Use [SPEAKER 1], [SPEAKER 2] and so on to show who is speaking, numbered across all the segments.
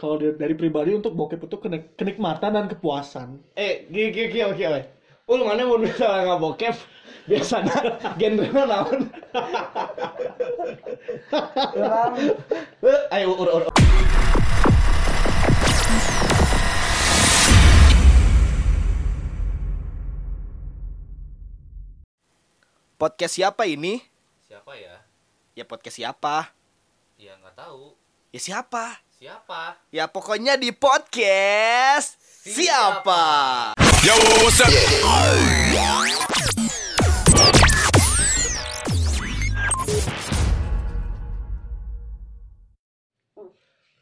[SPEAKER 1] kalau dari, dari pribadi untuk bokep itu kenik- kenikmatan dan kepuasan
[SPEAKER 2] Eh, gini, gini, gini, oke, oke. Ul mana mau misalnya nggak bokep, biasanya genre naon.
[SPEAKER 3] Orang
[SPEAKER 2] Eh, Ayo, ur, ur, ur.
[SPEAKER 4] Podcast siapa ini?
[SPEAKER 5] siapa ya
[SPEAKER 4] Ya podcast siapa?
[SPEAKER 5] ya nggak tahu
[SPEAKER 4] Ya siapa?
[SPEAKER 5] siapa
[SPEAKER 4] Ya pokoknya di podcast siapa?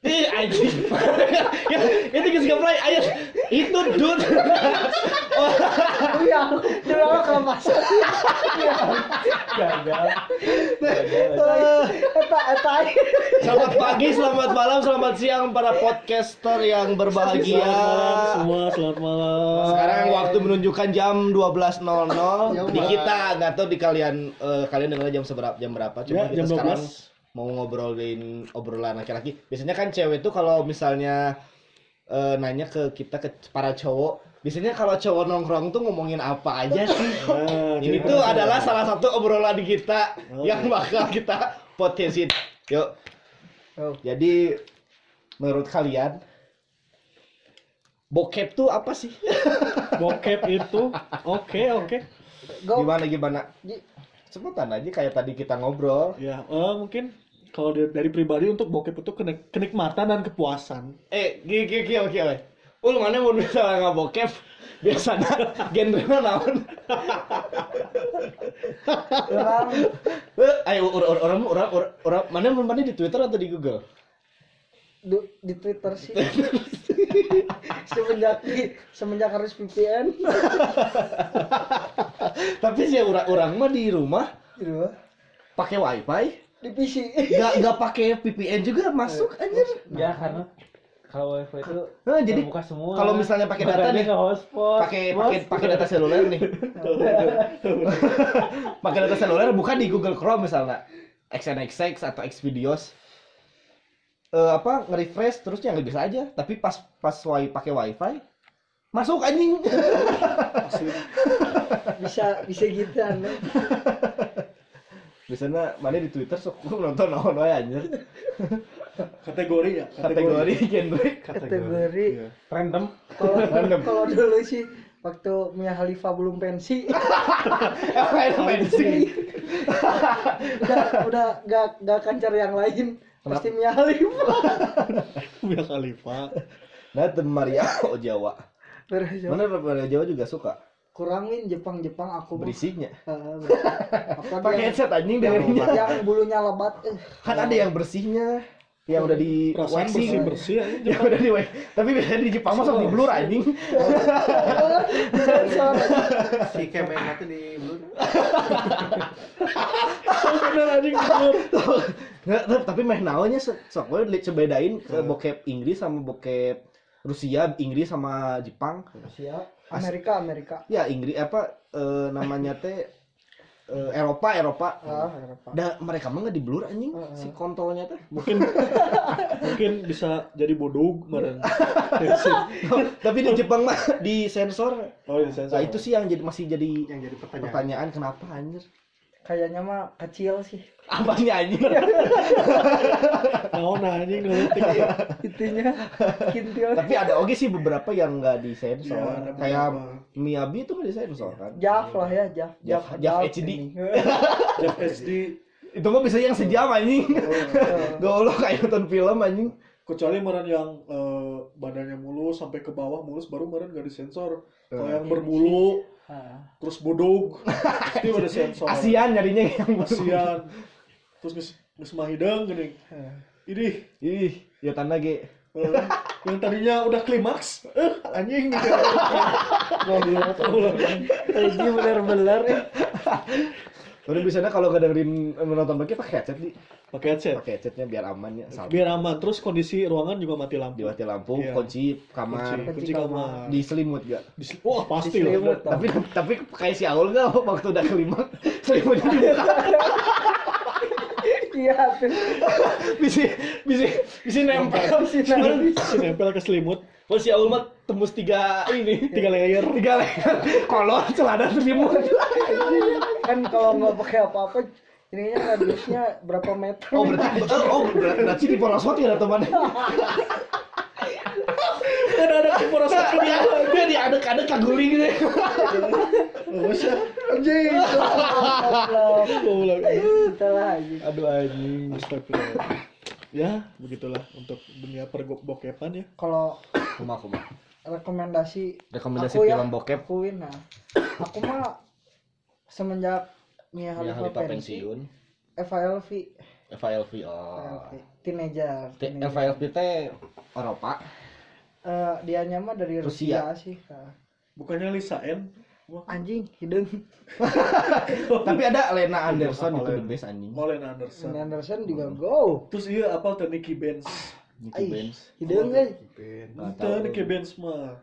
[SPEAKER 2] Ih, anjing. Ya, Itu geus gaplay, ayo. Itu dude.
[SPEAKER 3] Iya, dia orang kelepasan. Iya. Gagal. Gagal. Eta eta.
[SPEAKER 2] Selamat pagi, selamat malam, selamat siang para podcaster yang berbahagia.
[SPEAKER 1] selamat malam semua selamat malam
[SPEAKER 2] Sekarang waktu menunjukkan jam
[SPEAKER 1] Iya,
[SPEAKER 2] 12.00 di kita nggak tahu di kalian eh, kalian dengar jam seberapa jam berapa
[SPEAKER 1] Ya,
[SPEAKER 2] cuma kita
[SPEAKER 1] jam
[SPEAKER 2] sekarang
[SPEAKER 1] 12.
[SPEAKER 2] mau ngobrolin obrolan laki-laki. Biasanya kan cewek tuh kalau misalnya eh, nanya ke kita ke para cowok, biasanya kalau cowok nongkrong tuh ngomongin apa aja sih.
[SPEAKER 1] Nah,
[SPEAKER 2] Ini
[SPEAKER 1] jadi
[SPEAKER 2] tuh
[SPEAKER 1] kita-
[SPEAKER 2] adalah salah satu obrolan kita
[SPEAKER 1] Oh.
[SPEAKER 2] yang bakal kita potensin. Yuk.
[SPEAKER 3] Oh.
[SPEAKER 2] Jadi menurut kalian bokep tuh apa sih?
[SPEAKER 1] bokep itu oke oke
[SPEAKER 3] Go.
[SPEAKER 2] gimana gimana
[SPEAKER 3] Ji-
[SPEAKER 2] sebutan aja kayak tadi kita ngobrol
[SPEAKER 1] ya eh, mungkin kalau dari, dari pribadi untuk bokep itu kenik- kenikmatan dan kepuasan
[SPEAKER 2] eh gini gini gini oke oke ul mana mau misalnya nggak bokep biasanya genre naon
[SPEAKER 3] Orang
[SPEAKER 2] Eh, ayo ur- ur- orang orang orang orang mana mun mana di twitter atau di google
[SPEAKER 3] du- di Twitter sih. semenjak di, semenjak harus VPN
[SPEAKER 2] tapi sih orang orang mah di rumah
[SPEAKER 3] gitu lah.
[SPEAKER 2] pakai wifi
[SPEAKER 3] di PC
[SPEAKER 2] nggak nggak pakai VPN juga masuk anjir
[SPEAKER 6] Ya karena kalau wifi itu
[SPEAKER 2] Nah, jadi
[SPEAKER 6] terbuka semua.
[SPEAKER 2] kalau misalnya pakai data
[SPEAKER 6] Makanya
[SPEAKER 2] nih.
[SPEAKER 6] ke hotspot.
[SPEAKER 2] pakai pakai pakai data seluler nih pakai data seluler bukan di Google Chrome misalnya XNXX atau Xvideos Eh apa nge-refresh terus yang bisa aja tapi pas pas wi pakai wifi masuk anjing
[SPEAKER 3] bisa bisa gitu aneh
[SPEAKER 2] biasanya mana di Twitter sok nonton naon wae anjir
[SPEAKER 1] kategori ya
[SPEAKER 2] kategori genre
[SPEAKER 3] kategori
[SPEAKER 1] Iya.
[SPEAKER 6] random.
[SPEAKER 3] kalau
[SPEAKER 2] Random.
[SPEAKER 3] kalau dulu sih waktu Mia Khalifa belum pensi
[SPEAKER 2] apa yang main sih
[SPEAKER 3] udah udah gak gak akan cari yang lain pasti Mia Khalifa
[SPEAKER 1] Mia Khalifa
[SPEAKER 2] nah The Maria Jawa
[SPEAKER 3] Beres, ya.
[SPEAKER 2] mana Maria Jawa juga suka
[SPEAKER 3] kurangin Jepang Jepang aku mah. Eh,
[SPEAKER 2] berisiknya
[SPEAKER 3] Heeh, beres. Apalagi
[SPEAKER 2] pakai
[SPEAKER 3] yang-
[SPEAKER 2] headset anjing
[SPEAKER 3] yang,
[SPEAKER 2] dengerinnya
[SPEAKER 3] yang bulunya lebat eh.
[SPEAKER 2] kan ada yang bersihnya yang udah di
[SPEAKER 1] perasaan bersih
[SPEAKER 2] waxing.
[SPEAKER 1] bersih ya ini
[SPEAKER 2] yang udah di wax tapi biasanya di Jepang masuk di blur anjing
[SPEAKER 3] Sensor.
[SPEAKER 7] si kemen nanti di blur
[SPEAKER 1] bener anjing bener
[SPEAKER 2] Nggak, tapi- tapi meh naonnya se- sok gue li- sebedain ke bokep Inggris sama bokep Rusia Inggris sama Jepang
[SPEAKER 3] Siap. Amerika Amerika
[SPEAKER 2] ya Inggris apa eh, namanya teh eh, Eropa Eropa
[SPEAKER 3] ah Eropa
[SPEAKER 2] Dah, mereka mah nggak di blur anjing si kontolnya teh
[SPEAKER 1] mungkin mungkin bisa jadi bodog bareng Tensi.
[SPEAKER 2] Oh, tapi di Jepang mah di sensor
[SPEAKER 1] oh ini sensor
[SPEAKER 2] nah, itu sih yang jadi masih jadi
[SPEAKER 7] yang jadi pertanyaan
[SPEAKER 2] pertanyaan kenapa anjir
[SPEAKER 3] kayaknya mah kecil sih
[SPEAKER 2] apanya anjir
[SPEAKER 1] naon anjing ngelitik
[SPEAKER 3] itunya kintil
[SPEAKER 2] tapi ada oke sih beberapa yang nggak disensor
[SPEAKER 7] Iya, ada
[SPEAKER 2] kayak
[SPEAKER 7] beberapa.
[SPEAKER 2] Miyabi itu nggak disensor kan
[SPEAKER 3] Jaf lah ya Jaf
[SPEAKER 2] Jaf- Jaf HD.
[SPEAKER 3] ini.
[SPEAKER 1] Jeff SD
[SPEAKER 2] itu mah bisa yang sejam anjing goblok kayak nonton film anjing
[SPEAKER 1] kecuali meren yang eh, badannya mulus sampai ke bawah mulus baru meren gak disensor kalau yang berbulu terus bodog pasti ada sensor
[SPEAKER 2] asian nyarinya yang
[SPEAKER 1] Asian. terus geus geus mah hidang gini
[SPEAKER 3] Eh.
[SPEAKER 1] ini
[SPEAKER 2] ih ya tanda ge
[SPEAKER 1] eh, yang tadinya udah klimaks eh anjing gitu
[SPEAKER 3] Ini bener-bener eh.
[SPEAKER 2] Terus biasanya kalau gak dengerin eh, nonton pakai pakai headset di
[SPEAKER 1] pakai headset
[SPEAKER 2] pakai headsetnya biar aman ya sampai
[SPEAKER 1] biar aman terus kondisi ruangan juga mati lampu
[SPEAKER 2] diwati lampu
[SPEAKER 1] Iya.
[SPEAKER 2] kunci
[SPEAKER 1] kunci,
[SPEAKER 2] kamar
[SPEAKER 1] kunci kamar
[SPEAKER 2] di selimut gak
[SPEAKER 1] Di- wah pasti
[SPEAKER 3] Di
[SPEAKER 1] lah
[SPEAKER 3] selimut.
[SPEAKER 2] tapi tapi kayak si Aul gak waktu udah kelima selimutnya dibuka
[SPEAKER 3] Kiatin.
[SPEAKER 2] Bisa bisa bisa nempel.
[SPEAKER 3] Si Nabi.
[SPEAKER 1] Si nempel ke selimut
[SPEAKER 2] Kalau si Aul mah tembus tiga ini,
[SPEAKER 1] tiga layer
[SPEAKER 2] tiga leher, kolor, celana, selimut.
[SPEAKER 3] Kan kalau nggak pakai apa-apa, ininya radiusnya berapa meter?
[SPEAKER 2] Oh berarti oh berarti berarti di poros hotel ya teman.
[SPEAKER 1] kan ada di poros satu
[SPEAKER 2] Dia dia diadek-adek kaguling deh.
[SPEAKER 1] oh sih
[SPEAKER 3] Anjing. Goblok.
[SPEAKER 1] mau ulang
[SPEAKER 3] Kita gitu. lagi.
[SPEAKER 2] Aduh anjing.
[SPEAKER 1] Astagfirullah. ya begitulah untuk dunia perbokepan ya
[SPEAKER 3] Kalau
[SPEAKER 2] Kumah kumah.
[SPEAKER 3] rekomendasi
[SPEAKER 2] Rekomendasi
[SPEAKER 3] aku ya,
[SPEAKER 2] film bokep.
[SPEAKER 3] Akuin nah. Aku mah semenjak
[SPEAKER 2] Yang
[SPEAKER 3] Mia Khalifa
[SPEAKER 2] Halifa
[SPEAKER 3] pensiun,
[SPEAKER 2] pensiun.
[SPEAKER 3] FLV,
[SPEAKER 2] FILV oh.
[SPEAKER 3] FLV, teenager.
[SPEAKER 2] T-
[SPEAKER 3] teenager.
[SPEAKER 2] FILV teh Eropa.
[SPEAKER 3] Eh, dia nyama dari Rusia,
[SPEAKER 2] Rusia.
[SPEAKER 3] sih. Nah.
[SPEAKER 1] bukannya Lisa N Wah,
[SPEAKER 3] Anjing, hidung.
[SPEAKER 2] Tapi ada Lena Anderson itu the best anjing.
[SPEAKER 1] Colin Anderson
[SPEAKER 3] Sean Anderson juga go.
[SPEAKER 1] terus iya apa teh Nicky Benz
[SPEAKER 2] Nicky
[SPEAKER 3] Aih,
[SPEAKER 2] Benz.
[SPEAKER 3] hidung eh. euy.
[SPEAKER 2] Nggak
[SPEAKER 1] teh
[SPEAKER 2] tahu.
[SPEAKER 1] Nicky Benz mah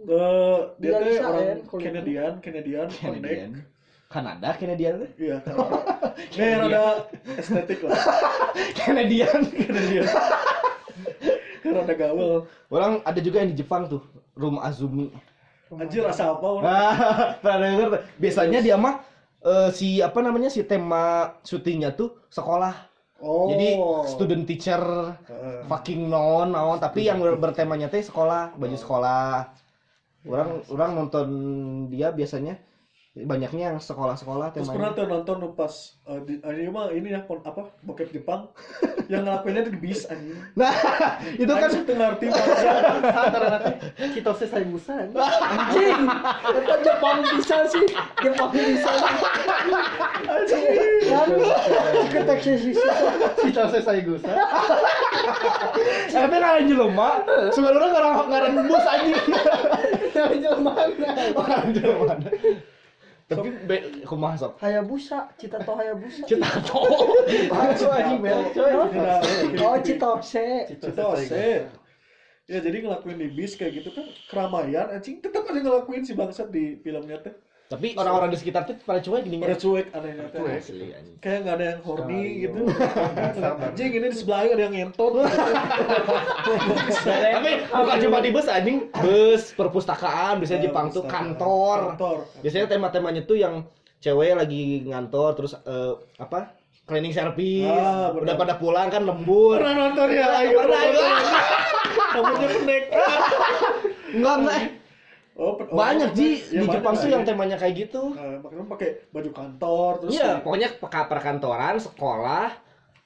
[SPEAKER 1] Eh, dia
[SPEAKER 3] Dia
[SPEAKER 1] teh
[SPEAKER 3] Lisa N,
[SPEAKER 1] orang
[SPEAKER 3] kulitnya.
[SPEAKER 1] Canadian Canadian pendek
[SPEAKER 2] Canadian. Kanada Canadian. teh.
[SPEAKER 1] iya kan nih rada estetik lah
[SPEAKER 2] Canadian.
[SPEAKER 1] Canadian rada gaul
[SPEAKER 2] Orang ada juga yang di Jepang tuh, Room Azumi.
[SPEAKER 1] anjir rasa apa orang
[SPEAKER 2] Nah, pernah denger tuh. Biasanya dia mah eh, si apa namanya si tema syutingnya tuh sekolah.
[SPEAKER 1] oh
[SPEAKER 2] Jadi student teacher
[SPEAKER 1] Heeh.
[SPEAKER 2] fucking non naon tapi yang ber- bertemanya teh sekolah,
[SPEAKER 1] Oh.
[SPEAKER 2] baju sekolah. Orang orang nonton dia biasanya banyaknya yang sekolah-sekolah
[SPEAKER 1] Terus pernah
[SPEAKER 2] temanya.
[SPEAKER 1] tuh nonton tuh pas eh, di, ini mah ini ya pon- apa bokep Jepang yang ngelakuinnya tuh di bis anjing.
[SPEAKER 2] Nah, itu kan
[SPEAKER 1] Anjing tuh ngerti Iya, maksudnya.
[SPEAKER 7] Kitose Saibusan.
[SPEAKER 3] Anjing, itu Jepang bisa sih. Jepang bisa. Anjing, kan keteksi sisi.
[SPEAKER 7] Kitose Saibusan.
[SPEAKER 2] tapi kan anjing lomba, sebelum orang ngarang ngarang bus anjing. Orang jelema. Tapi be- kumaha sok?
[SPEAKER 3] Hayabusa, cita to Hayabusa.
[SPEAKER 2] Cita tau. Baru anjing berak coy.
[SPEAKER 3] Oh, Citose.
[SPEAKER 1] Citose. Ya jadi ngelakuin di bis kayak gitu kan keramaian anjing tetap aja ngelakuin si bangsat di filmnya teh.
[SPEAKER 2] Tapi orang-orang di sekitar tuh pada cuek gini
[SPEAKER 1] Pada cuek anehnya teh.
[SPEAKER 2] Asli anjing.
[SPEAKER 1] Kayak nggak ada yang horny
[SPEAKER 7] Sama,
[SPEAKER 1] gitu. Anjing ini di sebelah ada yang ngentot.
[SPEAKER 2] Tapi bukan cuma di bus anjing, bus perpustakaan biasanya Jepang tuh kantor.
[SPEAKER 1] Iya, Kantor.
[SPEAKER 2] Biasanya tema-temanya tuh yang cewek lagi ngantor terus eh, apa? cleaning service.
[SPEAKER 1] Ah,
[SPEAKER 2] udah
[SPEAKER 1] benar.
[SPEAKER 2] pada pulang kan lembur.
[SPEAKER 1] Pernah nonton ya? Ayo.
[SPEAKER 2] Pernah,
[SPEAKER 1] nonton.
[SPEAKER 2] ayo.
[SPEAKER 1] Rambutnya pendek.
[SPEAKER 2] Enggak, enggak. eh.
[SPEAKER 1] Oh, pen- oh,
[SPEAKER 2] Banyak
[SPEAKER 1] oh,
[SPEAKER 2] Ji
[SPEAKER 1] ya,
[SPEAKER 2] di
[SPEAKER 1] banyak,
[SPEAKER 2] Jepang tuh
[SPEAKER 1] ya.
[SPEAKER 2] yang temanya kayak gitu.
[SPEAKER 1] Eh, makanya pakai baju kantor terus
[SPEAKER 2] Iya,
[SPEAKER 1] di-
[SPEAKER 2] pokoknya peka- perkantoran, sekolah,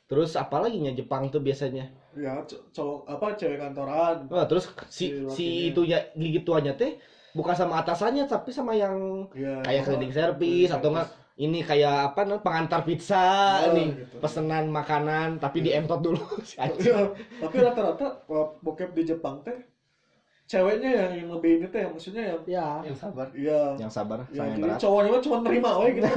[SPEAKER 2] terus apalagi nya Jepang tuh biasanya.
[SPEAKER 1] ya co- cowok apa cewek kantoran
[SPEAKER 2] Nah, Ah, terus si
[SPEAKER 1] Si
[SPEAKER 2] si
[SPEAKER 1] lakinya.
[SPEAKER 2] itunya gigi tuanya teh bukan sama atasannya tapi sama yang
[SPEAKER 1] Iya.
[SPEAKER 2] kayak cleaning service atau Ah, enggak ini kayak apa namanya pengantar pizza
[SPEAKER 1] Oh,
[SPEAKER 2] nih
[SPEAKER 1] gitu.
[SPEAKER 2] pesenan makanan tapi di entot dulu si anjing.
[SPEAKER 1] Iya, tapi rata-rata kalau bokep di Jepang teh ceweknya yang, yang lebih ini teh maksudnya yang
[SPEAKER 3] Ya,
[SPEAKER 7] Yang sabar.
[SPEAKER 1] ya
[SPEAKER 2] yang sabar
[SPEAKER 1] ya
[SPEAKER 2] sama yang
[SPEAKER 1] jadi
[SPEAKER 2] berat
[SPEAKER 1] cowoknya mah cuma terima we gitu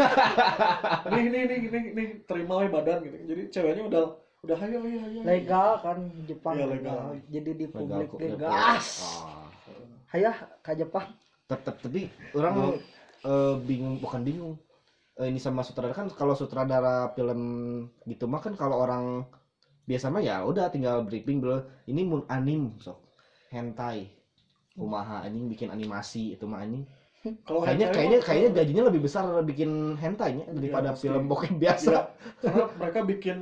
[SPEAKER 1] nih nih nih nih nih terima we badan gitu jadi ceweknya udah udah ayo ayo ayo
[SPEAKER 3] legal kan Jepang.
[SPEAKER 1] Iya, legal.
[SPEAKER 3] Jadi di
[SPEAKER 2] Legal
[SPEAKER 3] publik
[SPEAKER 2] kok,
[SPEAKER 3] legal.
[SPEAKER 2] legal.
[SPEAKER 3] Gas.
[SPEAKER 2] Ah.
[SPEAKER 3] Hayah ke Jepang.
[SPEAKER 2] tetap tapi orang eh, bingung bukan bingung Eh, ini sama sutradara kan kalau sutradara film gitu mah kan kalau orang biasa mah ya udah tinggal briefing bro ini mun anim sok hentai Kumaha anjing bikin animasi itu mah anjing
[SPEAKER 1] kalau Oh, hentai
[SPEAKER 2] kayaknya kayaknya
[SPEAKER 1] mah- Iya,
[SPEAKER 2] kayaknya gajinya lebih besar bikin hentainya daripada
[SPEAKER 1] pasti.
[SPEAKER 2] film bokep
[SPEAKER 1] Iya,
[SPEAKER 2] biasa
[SPEAKER 1] karena mereka bikin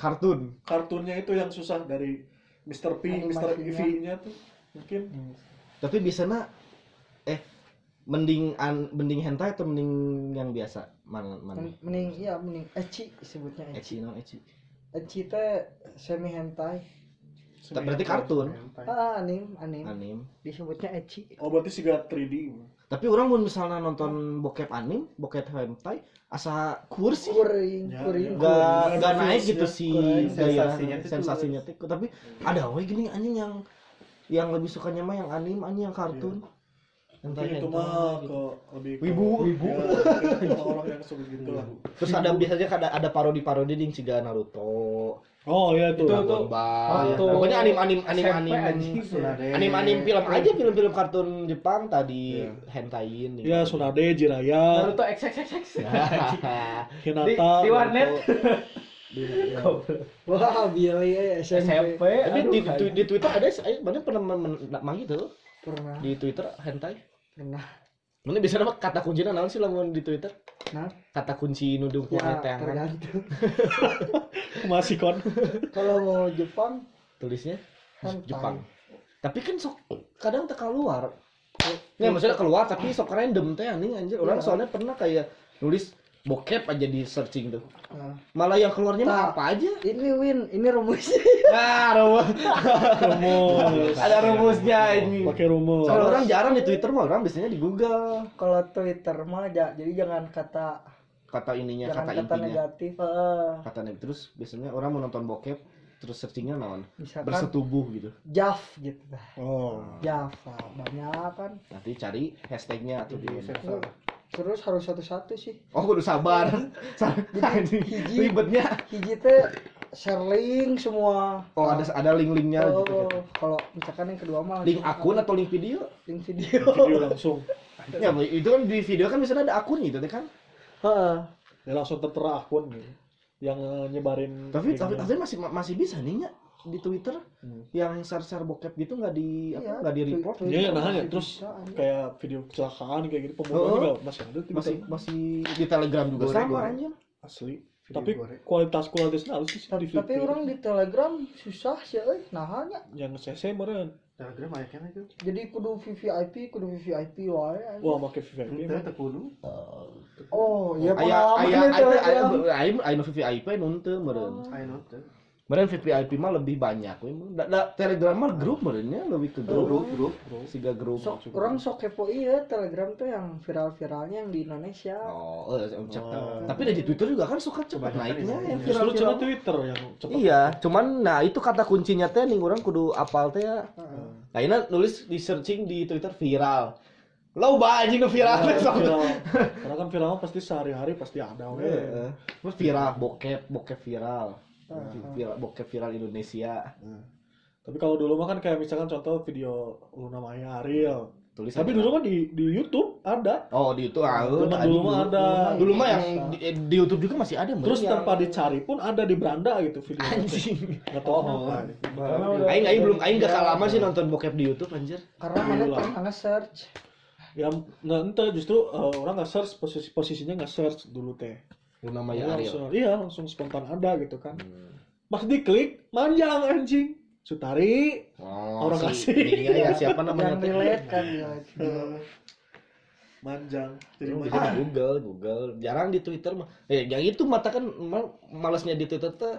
[SPEAKER 2] kartun
[SPEAKER 1] kartunnya itu yang susah dari Mr. P, Mr.
[SPEAKER 3] Animasinya.
[SPEAKER 1] EV-nya tuh mungkin
[SPEAKER 2] tapi biasanya eh mending an, mending hentai atau mending yang biasa mana mana
[SPEAKER 3] Men- Mending iya mending ecchi disebutnya
[SPEAKER 1] Kan-
[SPEAKER 3] ecchi.
[SPEAKER 2] Ecchi no ecchi.
[SPEAKER 3] Ecchi teh semi hentai.
[SPEAKER 2] Berarti kartun,
[SPEAKER 3] Ah, anim,
[SPEAKER 1] Hmm.
[SPEAKER 3] anim.
[SPEAKER 2] anim.
[SPEAKER 3] Disebutnya ecchi.
[SPEAKER 1] oh berarti siga 3D
[SPEAKER 2] Tapi orang mun misalnya nonton bokep anim, bokep hentai, asa kursi
[SPEAKER 3] Kuring,
[SPEAKER 1] Ya,
[SPEAKER 3] kuring.
[SPEAKER 1] ya.
[SPEAKER 2] nggak nggak naik
[SPEAKER 1] Kursi,
[SPEAKER 2] gitu
[SPEAKER 1] ya.
[SPEAKER 2] sih
[SPEAKER 3] Kurang
[SPEAKER 2] gaya
[SPEAKER 7] sensasinya tuh
[SPEAKER 2] sensasinya tuh. Tapi ada we gini anjing yang yang lebih sukanya mah yang anim, anjing yang kartun. Hentai,
[SPEAKER 1] Mungkin itu
[SPEAKER 2] hentai,
[SPEAKER 1] mah
[SPEAKER 2] gitu.
[SPEAKER 1] ke lebih ke-
[SPEAKER 2] Wibu. Wibu.
[SPEAKER 1] Ya, orang yang suka gitu lah.
[SPEAKER 2] Terus ada biasanya kan ada ada parodi-parodi ding siga Naruto,
[SPEAKER 1] Oh iya
[SPEAKER 2] itu, Dragon Ball. ya.
[SPEAKER 7] waktu
[SPEAKER 2] Pokoknya anim anim anim
[SPEAKER 7] SMP
[SPEAKER 2] anim.
[SPEAKER 7] anjing, Tsunade.
[SPEAKER 2] Anim anim film aja film-film kartun Jepang tadi
[SPEAKER 1] Iya.
[SPEAKER 2] hentain. gitu.
[SPEAKER 1] Ya Sunade, Jiraya,
[SPEAKER 2] Ya,
[SPEAKER 6] Naruto XXXX.
[SPEAKER 2] Hahaha.
[SPEAKER 1] Hinata.
[SPEAKER 6] Di- di warnet.
[SPEAKER 1] Naruto.
[SPEAKER 6] Goblok.
[SPEAKER 3] Wah, Billy ya SMP.
[SPEAKER 6] SMP.
[SPEAKER 2] Tapi
[SPEAKER 6] aduh,
[SPEAKER 2] di,
[SPEAKER 6] hai.
[SPEAKER 2] di- di Twitter ada, sih, ayo, mana pernah men- men- nak- mang gitu
[SPEAKER 3] Pernah,
[SPEAKER 2] di Twitter hentai.
[SPEAKER 3] pernah.
[SPEAKER 2] Mana bisa nama kata kunci naon sih lamun di Twitter?
[SPEAKER 3] Nah,
[SPEAKER 2] Kata kunci nudung nah,
[SPEAKER 3] ya
[SPEAKER 2] kuat teangan
[SPEAKER 3] tergantung.
[SPEAKER 1] masih kon
[SPEAKER 3] Kalau mau Jepang, kan
[SPEAKER 2] tulisnya
[SPEAKER 3] Hentai.
[SPEAKER 2] Jepang. Tapi kan sok kadang teka keluar. Ya maksudnya keluar tapi sok random teh anjing anjir. Orang
[SPEAKER 3] Iya.
[SPEAKER 2] soalnya pernah kayak nulis bokep aja di searching tuh.
[SPEAKER 3] nah,
[SPEAKER 2] Malah yang keluarnya mah
[SPEAKER 3] Tak.
[SPEAKER 2] apa aja?
[SPEAKER 3] ini win, ini rumusnya.
[SPEAKER 2] Nah, rumus.
[SPEAKER 1] rumus
[SPEAKER 2] Ada rumusnya ini.
[SPEAKER 1] pakai rumus
[SPEAKER 2] Soalnya orang jarang di Twitter mah, orang biasanya di Google
[SPEAKER 3] Kalau Twitter mah ja- jadi jangan kata
[SPEAKER 2] kata ininya, Iya,
[SPEAKER 3] jangan
[SPEAKER 2] kata,
[SPEAKER 3] kata
[SPEAKER 2] intinya.
[SPEAKER 3] negatif. eh.
[SPEAKER 2] Kata negatif. Terus biasanya orang mau nonton bokep terus searchingnya naon?
[SPEAKER 3] Misalkan
[SPEAKER 2] Bersetubuh gitu.
[SPEAKER 3] Jaf gitu. dah.
[SPEAKER 1] oh
[SPEAKER 3] Java banyak kan.
[SPEAKER 2] Nanti cari hashtagnya atau di
[SPEAKER 3] Terus harus satu-satu sih.
[SPEAKER 2] Oh, kudu sabar. Sa- Anjing,
[SPEAKER 3] hiji.
[SPEAKER 2] Ribetnya.
[SPEAKER 3] Hiji teh sharing semua.
[SPEAKER 2] Oh, ada ada link-linknya
[SPEAKER 3] Oh,
[SPEAKER 2] gitu. gitu.
[SPEAKER 3] kalau misalkan yang kedua mah
[SPEAKER 2] Link
[SPEAKER 3] langsung
[SPEAKER 2] akun atau link video?
[SPEAKER 3] link video.
[SPEAKER 1] video langsung
[SPEAKER 2] Ya, itu kan di video kan misalnya ada akun gitu kan.
[SPEAKER 3] Heeh.
[SPEAKER 1] ya langsung tertera akun gitu yang eh, nyebarin gitu.
[SPEAKER 2] Tapi tapi,
[SPEAKER 1] linknya.
[SPEAKER 2] tapi masih ma- masih bisa nih ya di Twitter
[SPEAKER 1] Hmm.
[SPEAKER 2] yang share-share bokep gitu nggak di
[SPEAKER 3] Iya,
[SPEAKER 2] apa nggak di report gitu.
[SPEAKER 3] Twitter
[SPEAKER 1] Iya, nah, ya.
[SPEAKER 3] masih
[SPEAKER 1] Terus
[SPEAKER 3] bisa, anjing.
[SPEAKER 1] kayak video kecelakaan kayak gitu pembunuhan
[SPEAKER 2] Oh.
[SPEAKER 1] juga masih ada di
[SPEAKER 2] masih
[SPEAKER 1] Twitter.
[SPEAKER 2] masih di Telegram juga
[SPEAKER 7] Goreng,
[SPEAKER 2] sama
[SPEAKER 7] goreng.
[SPEAKER 2] aja.
[SPEAKER 1] asli
[SPEAKER 7] Video
[SPEAKER 1] tapi
[SPEAKER 7] goreng.
[SPEAKER 1] kualitas kualitasnya harus sih
[SPEAKER 3] tapi,
[SPEAKER 1] di
[SPEAKER 3] tapi
[SPEAKER 1] Twitter.
[SPEAKER 3] orang di Telegram susah sih eh, euy nahanya.
[SPEAKER 1] yang CC meren
[SPEAKER 7] Telegram aja kan itu.
[SPEAKER 3] Jadi kudu VVIP, kudu VVIP wae. anjing.
[SPEAKER 1] wah pakai VVIP
[SPEAKER 7] Itu
[SPEAKER 1] mah.
[SPEAKER 7] terkudu.
[SPEAKER 3] Oh, iya
[SPEAKER 2] Ayah ayah
[SPEAKER 3] pengalaman di
[SPEAKER 2] ayah ayah
[SPEAKER 3] Telegram.
[SPEAKER 2] ayah ayah VVIP nuntun meren.
[SPEAKER 6] Oh.
[SPEAKER 7] I know tuh.
[SPEAKER 2] Meren VVIP mah lebih banyak. we. Da, da, Telegram mah grup merennya lebih ke grup.
[SPEAKER 7] Grup grup.
[SPEAKER 2] Siga grup.
[SPEAKER 3] Sok, orang sok kepo iya Telegram tuh yang viral-viralnya yang di Indonesia.
[SPEAKER 2] Oh, eh, cepet. Tapi dari Twitter juga kan suka cepat
[SPEAKER 7] Kebanyakan
[SPEAKER 2] naiknya
[SPEAKER 7] isinya.
[SPEAKER 2] yang
[SPEAKER 1] ya. Justru
[SPEAKER 2] viral-viral.
[SPEAKER 1] cuma Twitter yang cepat.
[SPEAKER 2] Iya, cuman nah itu kata kuncinya teh nih orang kudu apal teh. ya. Nah, ini nulis di searching di Twitter viral. Loba anjing nu viral
[SPEAKER 1] Karena
[SPEAKER 2] Iya,
[SPEAKER 1] kan
[SPEAKER 2] teh sok.
[SPEAKER 1] viral. Karena kan viral pasti sehari-hari pasti ada we.
[SPEAKER 2] Heeh. Terus viral bokep, bokep viral.
[SPEAKER 3] Heeh.
[SPEAKER 2] Viral bokep viral Indonesia.
[SPEAKER 1] Tapi kalau dulu mah kan kayak misalkan contoh video Luna Maya Ariel.
[SPEAKER 2] Tulis
[SPEAKER 1] Tapi
[SPEAKER 2] apa?
[SPEAKER 1] dulu mah di di YouTube ada.
[SPEAKER 2] Oh, di itu ah,
[SPEAKER 1] Dulu
[SPEAKER 2] tadi.
[SPEAKER 1] dulu mah ada.
[SPEAKER 2] Dulu mah yang
[SPEAKER 1] Iya.
[SPEAKER 2] di, eh, di YouTube juga masih ada, Mbak.
[SPEAKER 1] Terus tanpa dicari pun ada di beranda gitu video.
[SPEAKER 2] anjing.
[SPEAKER 1] Enggak tahu kenapa.
[SPEAKER 2] Aing aing belum aing
[SPEAKER 1] Iya.
[SPEAKER 2] gak lama sih nonton bokep di YouTube anjir.
[SPEAKER 3] Iya, Karena mana pernah nge-search.
[SPEAKER 1] Ya nggak ente justru eh, orang nggak search posisi posisinya nggak search dulu teh.
[SPEAKER 2] Lu namanya
[SPEAKER 1] Langsung-
[SPEAKER 2] Ariel.
[SPEAKER 1] Iya, langsung spontan ada gitu kan. Pas diklik, manjang anjing. Sutari,
[SPEAKER 2] Oh,
[SPEAKER 1] Orang
[SPEAKER 2] si-
[SPEAKER 1] asing.
[SPEAKER 2] Iya, ya, siapa namanya
[SPEAKER 3] Yang
[SPEAKER 2] teh?
[SPEAKER 3] relate kan relate.
[SPEAKER 1] manjang. Iya. Jadi
[SPEAKER 2] Dulu bisa
[SPEAKER 1] manjang.
[SPEAKER 2] di Google, Google. Jarang di Twitter mah. Eh, yang itu mata kan mal- malesnya di Twitter teh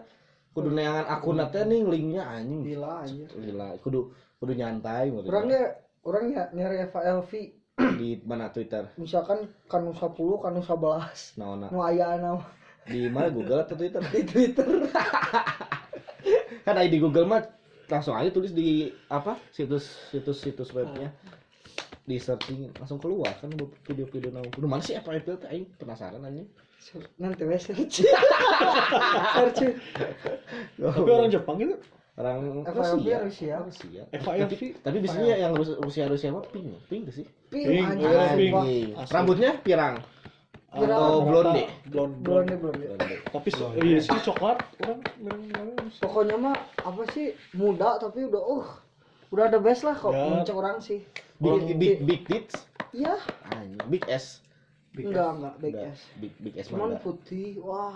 [SPEAKER 2] kudu neangan akun teh nih linknya
[SPEAKER 1] Iya.
[SPEAKER 2] anjing.
[SPEAKER 3] Gila anjir.
[SPEAKER 2] Gila, kudu kudu nyantai meureun.
[SPEAKER 3] Orangnya orang ya nyari FLV
[SPEAKER 2] di mana Twitter?
[SPEAKER 3] misalkan kanu 10 kanu 11
[SPEAKER 2] Naona.
[SPEAKER 3] nu aya nama
[SPEAKER 2] Di mana Google atau Twitter?
[SPEAKER 3] di Twitter
[SPEAKER 2] Kan ada di Google mah langsung aja tulis di apa? situs situs situs webnya di searching langsung keluar kan video-video nau. Lu mana sih apa itu teh aing penasaran anjing.
[SPEAKER 3] nanti we search search
[SPEAKER 1] Tapi orang Jepang itu
[SPEAKER 2] orang
[SPEAKER 3] FYP
[SPEAKER 2] Rusia.
[SPEAKER 3] Rusia.
[SPEAKER 2] Rusia.
[SPEAKER 1] FYF
[SPEAKER 2] Tapi, tapi biasanya yang Rusia Rusia mah pink, ya? pink gak sih?
[SPEAKER 1] Pink,
[SPEAKER 3] ping
[SPEAKER 1] Iya,
[SPEAKER 3] anjir
[SPEAKER 1] pink.
[SPEAKER 3] wah.
[SPEAKER 2] Anjing.
[SPEAKER 1] Asli.
[SPEAKER 2] Rambutnya pirang.
[SPEAKER 3] Pirang.
[SPEAKER 2] Atau blonde.
[SPEAKER 1] Ah, blonde
[SPEAKER 3] belum
[SPEAKER 1] blonde
[SPEAKER 3] deh belum deh.
[SPEAKER 1] tapi so, iya sih coklat orang orang- orang-
[SPEAKER 3] pokoknya mah apa sih muda tapi udah uh udah the best lah kok
[SPEAKER 1] Ya.
[SPEAKER 3] muncul orang sih
[SPEAKER 2] Big
[SPEAKER 3] Orang-
[SPEAKER 2] big big tits.
[SPEAKER 3] iya
[SPEAKER 2] Anjing. Big S.
[SPEAKER 3] enggak enggak big
[SPEAKER 2] Udah,
[SPEAKER 3] ass
[SPEAKER 2] Big big S
[SPEAKER 3] cuman
[SPEAKER 2] mana?
[SPEAKER 3] putih wah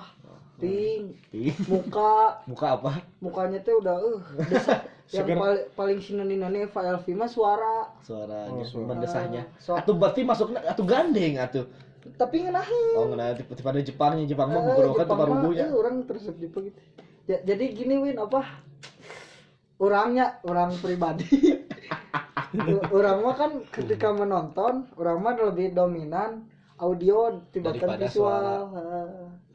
[SPEAKER 3] pink
[SPEAKER 2] Pink.
[SPEAKER 3] muka
[SPEAKER 2] Muka apa?
[SPEAKER 3] mukanya tuh udah uh desa- yang
[SPEAKER 1] Seger.
[SPEAKER 3] pal- paling sinonimnya FLV mah suara eh,
[SPEAKER 2] Suaranya,
[SPEAKER 1] Oh, suara.
[SPEAKER 2] mendesahnya.
[SPEAKER 3] Suara.
[SPEAKER 2] Atuh berarti masuknya atuh gandeng atuh.
[SPEAKER 3] tapi ngenahin
[SPEAKER 2] Oh, nggak tipe tipe ada Jepangnya, Jepang mah
[SPEAKER 3] Eh,
[SPEAKER 2] bukan
[SPEAKER 3] Jepang
[SPEAKER 2] tempat
[SPEAKER 3] mah,
[SPEAKER 2] rubuhnya.
[SPEAKER 3] eh, orang tersep Jepang gitu. Ya, jadi gini Win apa? Orangnya orang pribadi. U- orang mah kan ketika menonton, orang mah lebih dominan audio dibandingkan
[SPEAKER 2] Daripada
[SPEAKER 3] visual.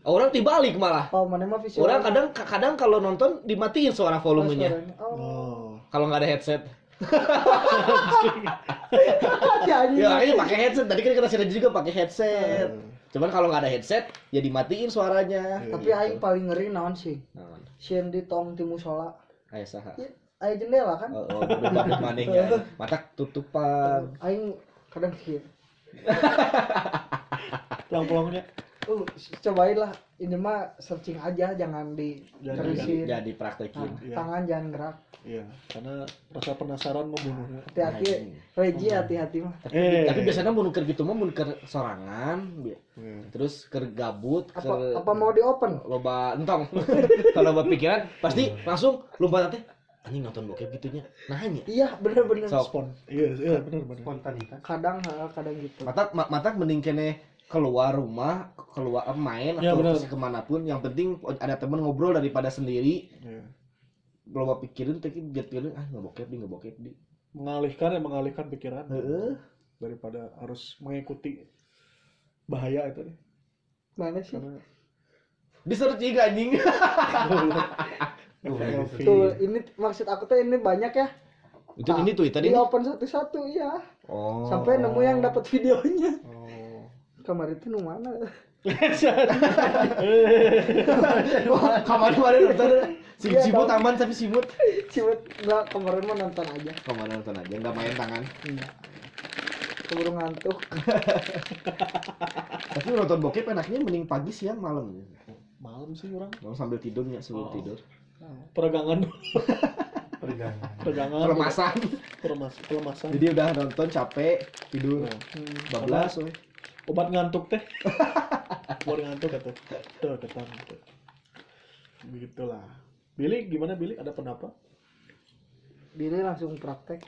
[SPEAKER 2] Oh, Orang dibalik malah.
[SPEAKER 3] Eh, Oh, mana mah visual.
[SPEAKER 2] Orang kadang kadang kalau nonton dimatiin suara
[SPEAKER 3] Oh,
[SPEAKER 2] volumenya.
[SPEAKER 3] suaranya. Oh,
[SPEAKER 1] oh
[SPEAKER 2] Kalau nggak ada headset.
[SPEAKER 3] si anjing.
[SPEAKER 2] Ya makanya pakai headset. Tadi kan kita sini juga pakai headset.
[SPEAKER 3] Eh.
[SPEAKER 2] Cuman kalau nggak ada headset, ya dimatiin suaranya. Gitu.
[SPEAKER 3] Tapi aing paling ngeri naon sih?
[SPEAKER 2] Naon?
[SPEAKER 3] Sieun di tong di musola.
[SPEAKER 2] Aya saha?
[SPEAKER 3] Ya, Aya jendela kan?
[SPEAKER 2] Oh, oh debat manehnya. Mata tutupan.
[SPEAKER 3] Aing kadang sih.
[SPEAKER 1] pulang pulangnya
[SPEAKER 3] Uh, cobain lah ini mah searching aja jangan di
[SPEAKER 1] Jangan
[SPEAKER 3] terusin.
[SPEAKER 2] jadi
[SPEAKER 3] Nah,
[SPEAKER 2] praktekin
[SPEAKER 1] Iya.
[SPEAKER 3] tangan jangan gerak
[SPEAKER 1] Iya, karena rasa penasaran membunuhnya.
[SPEAKER 2] Iya.
[SPEAKER 3] hati-hati Reji hati-hati mah
[SPEAKER 2] tapi,
[SPEAKER 1] Eh.
[SPEAKER 2] Nah, tapi biasanya mun keur gitu mah mun keur sorangan bi-
[SPEAKER 1] Iya.
[SPEAKER 2] terus keur gabut
[SPEAKER 3] apa
[SPEAKER 2] keur-
[SPEAKER 3] apa mau di open
[SPEAKER 2] loba entong kalau loba pikiran pasti langsung lomba nanti anjing nonton bokep gitunya nanya
[SPEAKER 3] iya bener-bener
[SPEAKER 2] sok
[SPEAKER 1] Spon. Iya, iya benar benar.
[SPEAKER 7] Spontanitas.
[SPEAKER 3] kadang kadang gitu
[SPEAKER 2] matak ma- matak mending kene keluar rumah keluar eh, main
[SPEAKER 1] Ya,
[SPEAKER 2] atau
[SPEAKER 1] bener.
[SPEAKER 2] kemanapun yang penting ada teman ngobrol daripada sendiri
[SPEAKER 1] Iya.
[SPEAKER 2] loba pikirin tapi biar pikirin ah nggak bokep di nggak bokep di
[SPEAKER 1] Mengalihkan ya mengalihkan pikiran
[SPEAKER 2] Heeh.
[SPEAKER 1] daripada harus mengikuti bahaya itu nih.
[SPEAKER 3] mana sih
[SPEAKER 2] Iya.
[SPEAKER 1] karena
[SPEAKER 2] di searching anjing
[SPEAKER 1] Duh,
[SPEAKER 2] Iya, gitu.
[SPEAKER 1] Elvi.
[SPEAKER 3] tuh ini maksud aku tuh ini banyak ya
[SPEAKER 2] itu ini tuh tadi
[SPEAKER 3] di open satu-satu ya
[SPEAKER 2] oh
[SPEAKER 3] sampai nemu ya. yang dapat videonya
[SPEAKER 1] Oh.
[SPEAKER 3] kemarin itu nu mana
[SPEAKER 1] Eh.
[SPEAKER 2] kamar kemarin nonton si
[SPEAKER 3] Iya,
[SPEAKER 2] simut
[SPEAKER 3] tahu.
[SPEAKER 2] aman tapi simut
[SPEAKER 3] cuma nggak kemarin mau nonton aja
[SPEAKER 2] kemarin nonton aja nggak main tangan
[SPEAKER 3] keburu ngantuk
[SPEAKER 2] tapi nonton bokep enaknya mending pagi siang malam
[SPEAKER 1] Malam sih orang
[SPEAKER 2] Mau sambil tidurnya
[SPEAKER 1] Oh.
[SPEAKER 2] sebelum tidur
[SPEAKER 1] peregangan
[SPEAKER 7] Peregangan.
[SPEAKER 1] peregangan
[SPEAKER 2] pelemasan
[SPEAKER 1] pelemas pelemasan
[SPEAKER 2] jadi udah nonton capek tidur
[SPEAKER 1] Nah,
[SPEAKER 3] Hmm,
[SPEAKER 2] bablas weh.
[SPEAKER 1] obat ngantuk teh obat ngantuk atau tuh ketan gitu begitulah Billy gimana Billy ada pendapat
[SPEAKER 3] Billy langsung praktek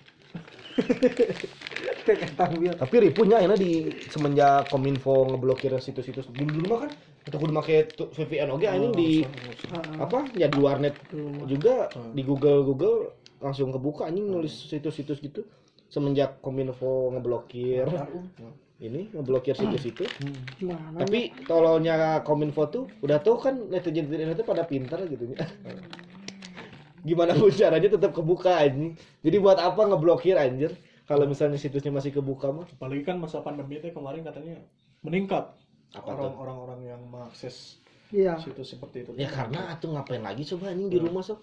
[SPEAKER 3] kekatang Bil
[SPEAKER 2] tapi ripuhnya ini di semenjak kominfo ngeblokir situs-situs dulu dulu mah kan atau kudu make tu- VPN oke anjing Ya, di
[SPEAKER 1] Oh,
[SPEAKER 3] Ah,
[SPEAKER 2] apa ya di warnet juga
[SPEAKER 1] Hmm.
[SPEAKER 2] di Google Google langsung kebuka anjing nulis situs-situs gitu semenjak kominfo ngeblokir ini ngeblokir situs-situs
[SPEAKER 3] mana
[SPEAKER 2] tapi tololnya kominfo tuh udah tau kan netizen netizen itu pada pintar gitu ya gimana pun caranya tetap kebuka anjing jadi buat apa ngeblokir anjir kalau misalnya situsnya masih kebuka mah
[SPEAKER 1] apalagi kan masa pandemi teh kemarin katanya meningkat
[SPEAKER 2] Apa
[SPEAKER 1] orang orang-orang yang mengakses
[SPEAKER 3] iya
[SPEAKER 1] situs seperti itu
[SPEAKER 2] ya karena atuh ngapain lagi coba anjing di
[SPEAKER 1] Hmm.
[SPEAKER 2] rumah sok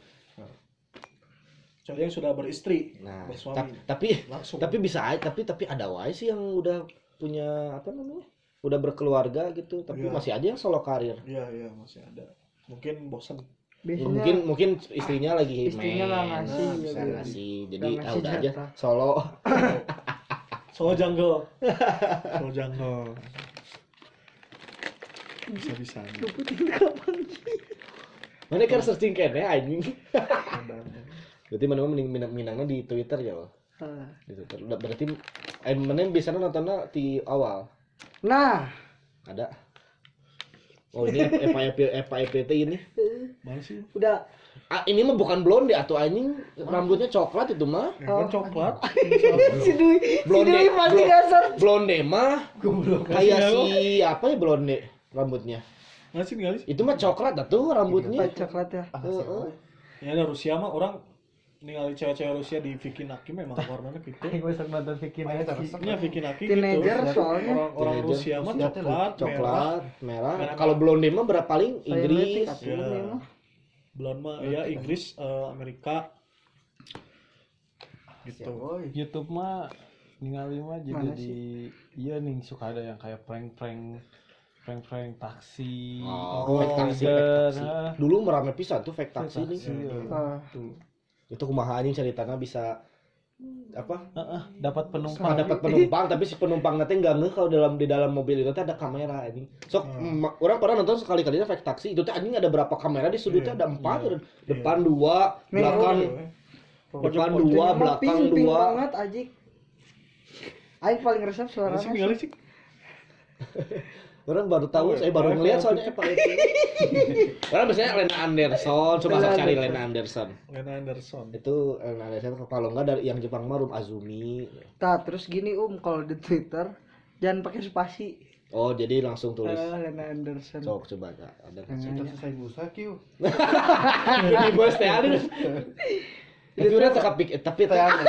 [SPEAKER 1] Soalnya yang sudah beristri
[SPEAKER 2] nah
[SPEAKER 1] bersuami
[SPEAKER 2] tap- tapi
[SPEAKER 1] langsung
[SPEAKER 2] tapi bisa aja tapi tapi ada wae sih yang udah punya apa namanya udah berkeluarga gitu tapi
[SPEAKER 1] Iya.
[SPEAKER 2] masih aja yang solo karir
[SPEAKER 1] iya iya masih ada mungkin bosan
[SPEAKER 3] biasanya
[SPEAKER 2] mungkin mungkin istrinya lagi
[SPEAKER 3] Iya. istrinya nggak
[SPEAKER 2] men,
[SPEAKER 3] ngasih,
[SPEAKER 2] nah, bisa
[SPEAKER 1] ya, gitu.
[SPEAKER 2] ngasih jadi
[SPEAKER 3] Nggak
[SPEAKER 2] ah,
[SPEAKER 3] ngasih
[SPEAKER 2] udah aja
[SPEAKER 3] jatah.
[SPEAKER 2] solo
[SPEAKER 1] Solo jungle. Solo jungle. Bisa bisa.
[SPEAKER 2] Mana kan searching kene anjing. Berarti mana mah mending minang minangnya di Twitter ya, Wal?
[SPEAKER 3] Heeh.
[SPEAKER 2] di Twitter. Udah, Berarti eh mana biasanya nontonnya di awal.
[SPEAKER 3] nah
[SPEAKER 2] Ada. Oh ini FIP FIPT ini.
[SPEAKER 1] Mana sih?
[SPEAKER 3] udah
[SPEAKER 2] Ah, ini mah bukan blonde atau anjing, rambutnya coklat itu mah.
[SPEAKER 1] Ya, kan coklat.
[SPEAKER 3] si Dwi si
[SPEAKER 2] Blonde,
[SPEAKER 3] Dwi pasti
[SPEAKER 2] blonde.
[SPEAKER 3] dasar
[SPEAKER 2] Blonde mah
[SPEAKER 1] Kasih
[SPEAKER 2] kayak
[SPEAKER 1] aku.
[SPEAKER 2] si apa ya blonde rambutnya.
[SPEAKER 1] Mana sih nggak sih?
[SPEAKER 2] Itu mah coklat tuh
[SPEAKER 1] Iya,
[SPEAKER 2] rambutnya.
[SPEAKER 3] coklat ya
[SPEAKER 6] Oh,
[SPEAKER 2] Heeh.
[SPEAKER 1] Ya ada Rusia mah orang ningali cewek-cewek Rusia di Vicky Naki memang warnanya gitu.
[SPEAKER 6] gue sering nonton Vicky Naki.
[SPEAKER 1] Ini Vicky Naki
[SPEAKER 3] Teenager
[SPEAKER 1] gitu.
[SPEAKER 3] soalnya.
[SPEAKER 1] Orang-orang
[SPEAKER 2] Teenager.
[SPEAKER 1] Rusia mah coklat, merah.
[SPEAKER 2] Coklat, merah.
[SPEAKER 1] iya, Merah.
[SPEAKER 2] Kalau blonde mah berapa paling Inggris. Iya,
[SPEAKER 1] Ya. Belum mah ya Inggris, eh, Amerika. Gitu.
[SPEAKER 6] Iya, YouTube mah ningali mah jadi
[SPEAKER 3] Mana
[SPEAKER 6] di iya nih suka ada yang kayak prank-prank prank-prank taksi.
[SPEAKER 1] Iya.
[SPEAKER 2] Oh, fake taksi, fake
[SPEAKER 6] Uber,
[SPEAKER 2] taksi.
[SPEAKER 6] ah.
[SPEAKER 2] Dulu merame pisan tuh fake taksi ini.
[SPEAKER 6] Taksi, ya.
[SPEAKER 2] Itu kumaha anjing ceritanya bisa apa?
[SPEAKER 6] Ah, ah, dapat penumpang.
[SPEAKER 2] Suka
[SPEAKER 1] Iya.
[SPEAKER 2] dapat penumpang tapi si penumpang nanti nggak ngeh kalau dalam di dalam mobil itu teh ada kamera anjing. Sok ma- orang pernah nonton sekali kalinya fake taksi itu teh anjing ada berapa kamera di sudutnya ada empat ada- depan dua
[SPEAKER 3] Nih,
[SPEAKER 2] belakang depan dua belakang
[SPEAKER 3] ping ping
[SPEAKER 2] dua
[SPEAKER 3] banget ajik Aing paling resep
[SPEAKER 1] Mana sih
[SPEAKER 3] suaranya
[SPEAKER 1] ngali sih?
[SPEAKER 2] orang baru tahu saya baru ngeliat soalnya apa itu orang biasanya Lena Anderson coba sok cari Lena Anderson
[SPEAKER 1] Lena Anderson.
[SPEAKER 2] itu Lena Anderson kalau nggak dari yang Jepang mah Rum Azumi
[SPEAKER 3] Nah, terus gini Um kalau di Twitter jangan pakai spasi.
[SPEAKER 2] oh jadi langsung tulis
[SPEAKER 3] Eh, Lena Anderson.
[SPEAKER 2] Sok coba Kak. ada kan?
[SPEAKER 7] Kita selesai busa, Q.
[SPEAKER 2] Jadi bos teh ada. Itu udah tekapik tapi teh ada.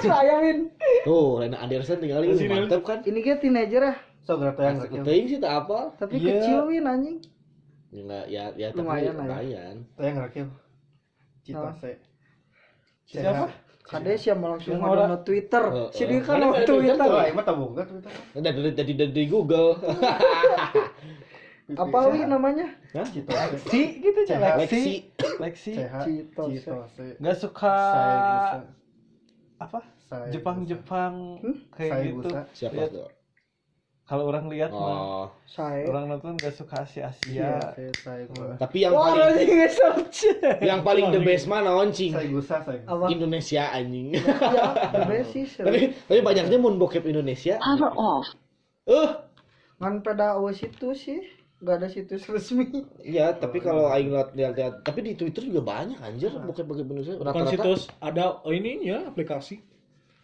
[SPEAKER 3] Sayangin.
[SPEAKER 2] Tuh, Lena Anderson tinggal ini
[SPEAKER 1] Sini,
[SPEAKER 2] mantep kan.
[SPEAKER 3] Ini dia teenager ya,
[SPEAKER 7] So, gerak tayang, gerak yuk.
[SPEAKER 2] Teuing sih tak apa.
[SPEAKER 3] tapi
[SPEAKER 6] Iya.
[SPEAKER 3] kecil win anjing.
[SPEAKER 2] Ya Enggak ya ya tapi
[SPEAKER 3] Lumayan lah ya.
[SPEAKER 2] lumayan.
[SPEAKER 7] Tayang, gerak yuk. Cita
[SPEAKER 3] Sama.
[SPEAKER 7] se.
[SPEAKER 6] Siapa?
[SPEAKER 3] Kades yang langsung
[SPEAKER 6] Yang
[SPEAKER 3] ada
[SPEAKER 6] orang-
[SPEAKER 3] no Twitter.
[SPEAKER 2] Heeh.
[SPEAKER 3] Si dia kan
[SPEAKER 2] Mana
[SPEAKER 3] no
[SPEAKER 2] ada Twitter?
[SPEAKER 3] Twitter.
[SPEAKER 7] Oh, emang tabung, enggak, Twitter?
[SPEAKER 2] Dari dari dari, dari Google.
[SPEAKER 3] apa wi
[SPEAKER 2] Iya.
[SPEAKER 3] namanya
[SPEAKER 7] Citose.
[SPEAKER 6] Si gitu Lexi.
[SPEAKER 7] Cehat.
[SPEAKER 2] Lexi.
[SPEAKER 6] Lexi.
[SPEAKER 7] CH
[SPEAKER 3] Citose.
[SPEAKER 7] Citose.
[SPEAKER 6] Nggak suka
[SPEAKER 7] Saya Gusa.
[SPEAKER 6] apa?
[SPEAKER 7] Saya Gusa.
[SPEAKER 6] Jepang-Jepang kayak
[SPEAKER 7] Saya
[SPEAKER 6] gitu.
[SPEAKER 7] Gusa.
[SPEAKER 2] Siapa
[SPEAKER 6] Lihat.
[SPEAKER 2] tuh?
[SPEAKER 6] Kalau orang lihat mah
[SPEAKER 2] Oh.
[SPEAKER 3] saya
[SPEAKER 6] orang nonton nggak suka Asia-Asia.
[SPEAKER 7] Iya, saya saya Gusa.
[SPEAKER 2] Tapi yang
[SPEAKER 3] wah
[SPEAKER 2] paling
[SPEAKER 3] anjing ngesearch
[SPEAKER 2] yang paling the best mana oncing?
[SPEAKER 7] Saya Gusa, saya Gusa.
[SPEAKER 3] apa
[SPEAKER 2] Indonesia anjing.
[SPEAKER 3] ya tapi sih
[SPEAKER 2] tapi tapi banyaknya mun bokep Indonesia. Power off. Eh,
[SPEAKER 3] ngan pada awas itu sih nggak ada situs resmi
[SPEAKER 2] iya, tapi kalau aing lihat lihat tapi di Twitter juga banyak anjir bokep bokep Indonesia.
[SPEAKER 1] Bukan
[SPEAKER 2] Rata-rata
[SPEAKER 1] situs ada oh, ininya aplikasi.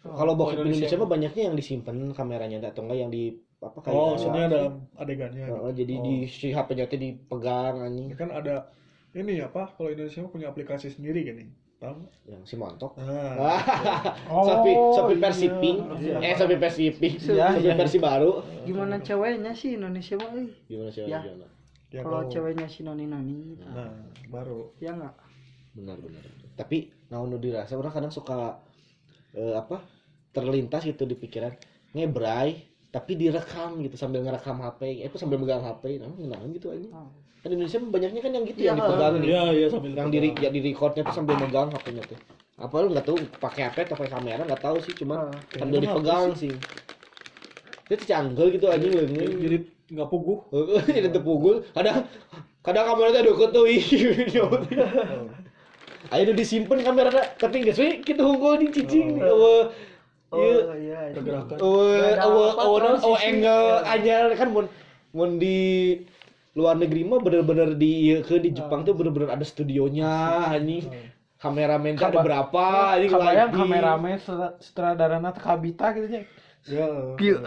[SPEAKER 2] kalau bokep
[SPEAKER 1] Oh,
[SPEAKER 2] Indonesia
[SPEAKER 1] Indonesia.
[SPEAKER 2] mah banyaknya yang disimpan kameranya atau enggak yang di apa kayak
[SPEAKER 6] iya.
[SPEAKER 1] Oh, maksudnya dalam adegannya. gitu.
[SPEAKER 2] Oh, jadi di si HP-nya teh dipegang anjing
[SPEAKER 1] Ya kan ada ini apa kalau Indonesia mah punya aplikasi sendiri gini. Tahu?
[SPEAKER 2] yang si montok.
[SPEAKER 1] Nah,
[SPEAKER 2] Ah,
[SPEAKER 6] Oh.
[SPEAKER 2] Shopee,
[SPEAKER 1] Oh,
[SPEAKER 2] Shopee Persiping. Eh, Shopee Persiping.
[SPEAKER 6] Iya,
[SPEAKER 2] Shopee
[SPEAKER 6] iya.
[SPEAKER 2] Persi baru.
[SPEAKER 3] gimana ceweknya sih Indonesia mah euy?
[SPEAKER 2] Gimana sih?
[SPEAKER 3] Ya.
[SPEAKER 2] gimana?
[SPEAKER 1] yang
[SPEAKER 3] kalau
[SPEAKER 1] mau.
[SPEAKER 3] ceweknya si noni noni gitu.
[SPEAKER 1] Nah, baru.
[SPEAKER 3] ya nggak
[SPEAKER 2] benar benar tapi naon nu dirasa orang kadang suka eh, apa terlintas gitu di pikiran ngebrai tapi direkam gitu sambil ngerekam HP eh, apa sambil megang HP nah naon gitu aja
[SPEAKER 3] Oh.
[SPEAKER 2] kan Indonesia banyaknya kan yang gitu
[SPEAKER 3] Iya,
[SPEAKER 2] yang dipegang nih.
[SPEAKER 1] Iya, iya sambil
[SPEAKER 2] yang diri ya di recordnya tuh sambil megang HP-nya tuh apa lu nggak tahu pakai HP atau pakai kamera nggak tahu sih
[SPEAKER 7] Ah,
[SPEAKER 2] cuman sambil
[SPEAKER 1] Kayaknya
[SPEAKER 2] dipegang sih itu canggul gitu aja
[SPEAKER 1] Jadi-
[SPEAKER 2] lu
[SPEAKER 1] Jadi nggak puguh.
[SPEAKER 2] oh, jadi terpukul kadang kadang kamera teh deket tuh ih. Ayo udah disimpan kamera na. tapi nggak sih kita unggul di cicing nih awa iya
[SPEAKER 3] oh iya iya.
[SPEAKER 1] Pergerakan.
[SPEAKER 2] awa
[SPEAKER 3] Nggak
[SPEAKER 2] awa
[SPEAKER 3] ada
[SPEAKER 2] awa
[SPEAKER 3] apa-apa, Iya.
[SPEAKER 2] non awa
[SPEAKER 3] transisi.
[SPEAKER 2] angle anyar kan mun mun di luar negeri mah bener-bener di iya ke di
[SPEAKER 3] Iya.
[SPEAKER 2] Jepang tuh bener-bener ada studionya anjing kameramen tuh ada
[SPEAKER 6] Kaba-
[SPEAKER 2] berapa
[SPEAKER 3] iya,
[SPEAKER 6] Ah,
[SPEAKER 2] anjing
[SPEAKER 6] Kabayang
[SPEAKER 2] lighting.
[SPEAKER 6] kameramen sutra- sutradarana teh kabita gitu nya.
[SPEAKER 1] Ya. Oh,
[SPEAKER 3] Iya,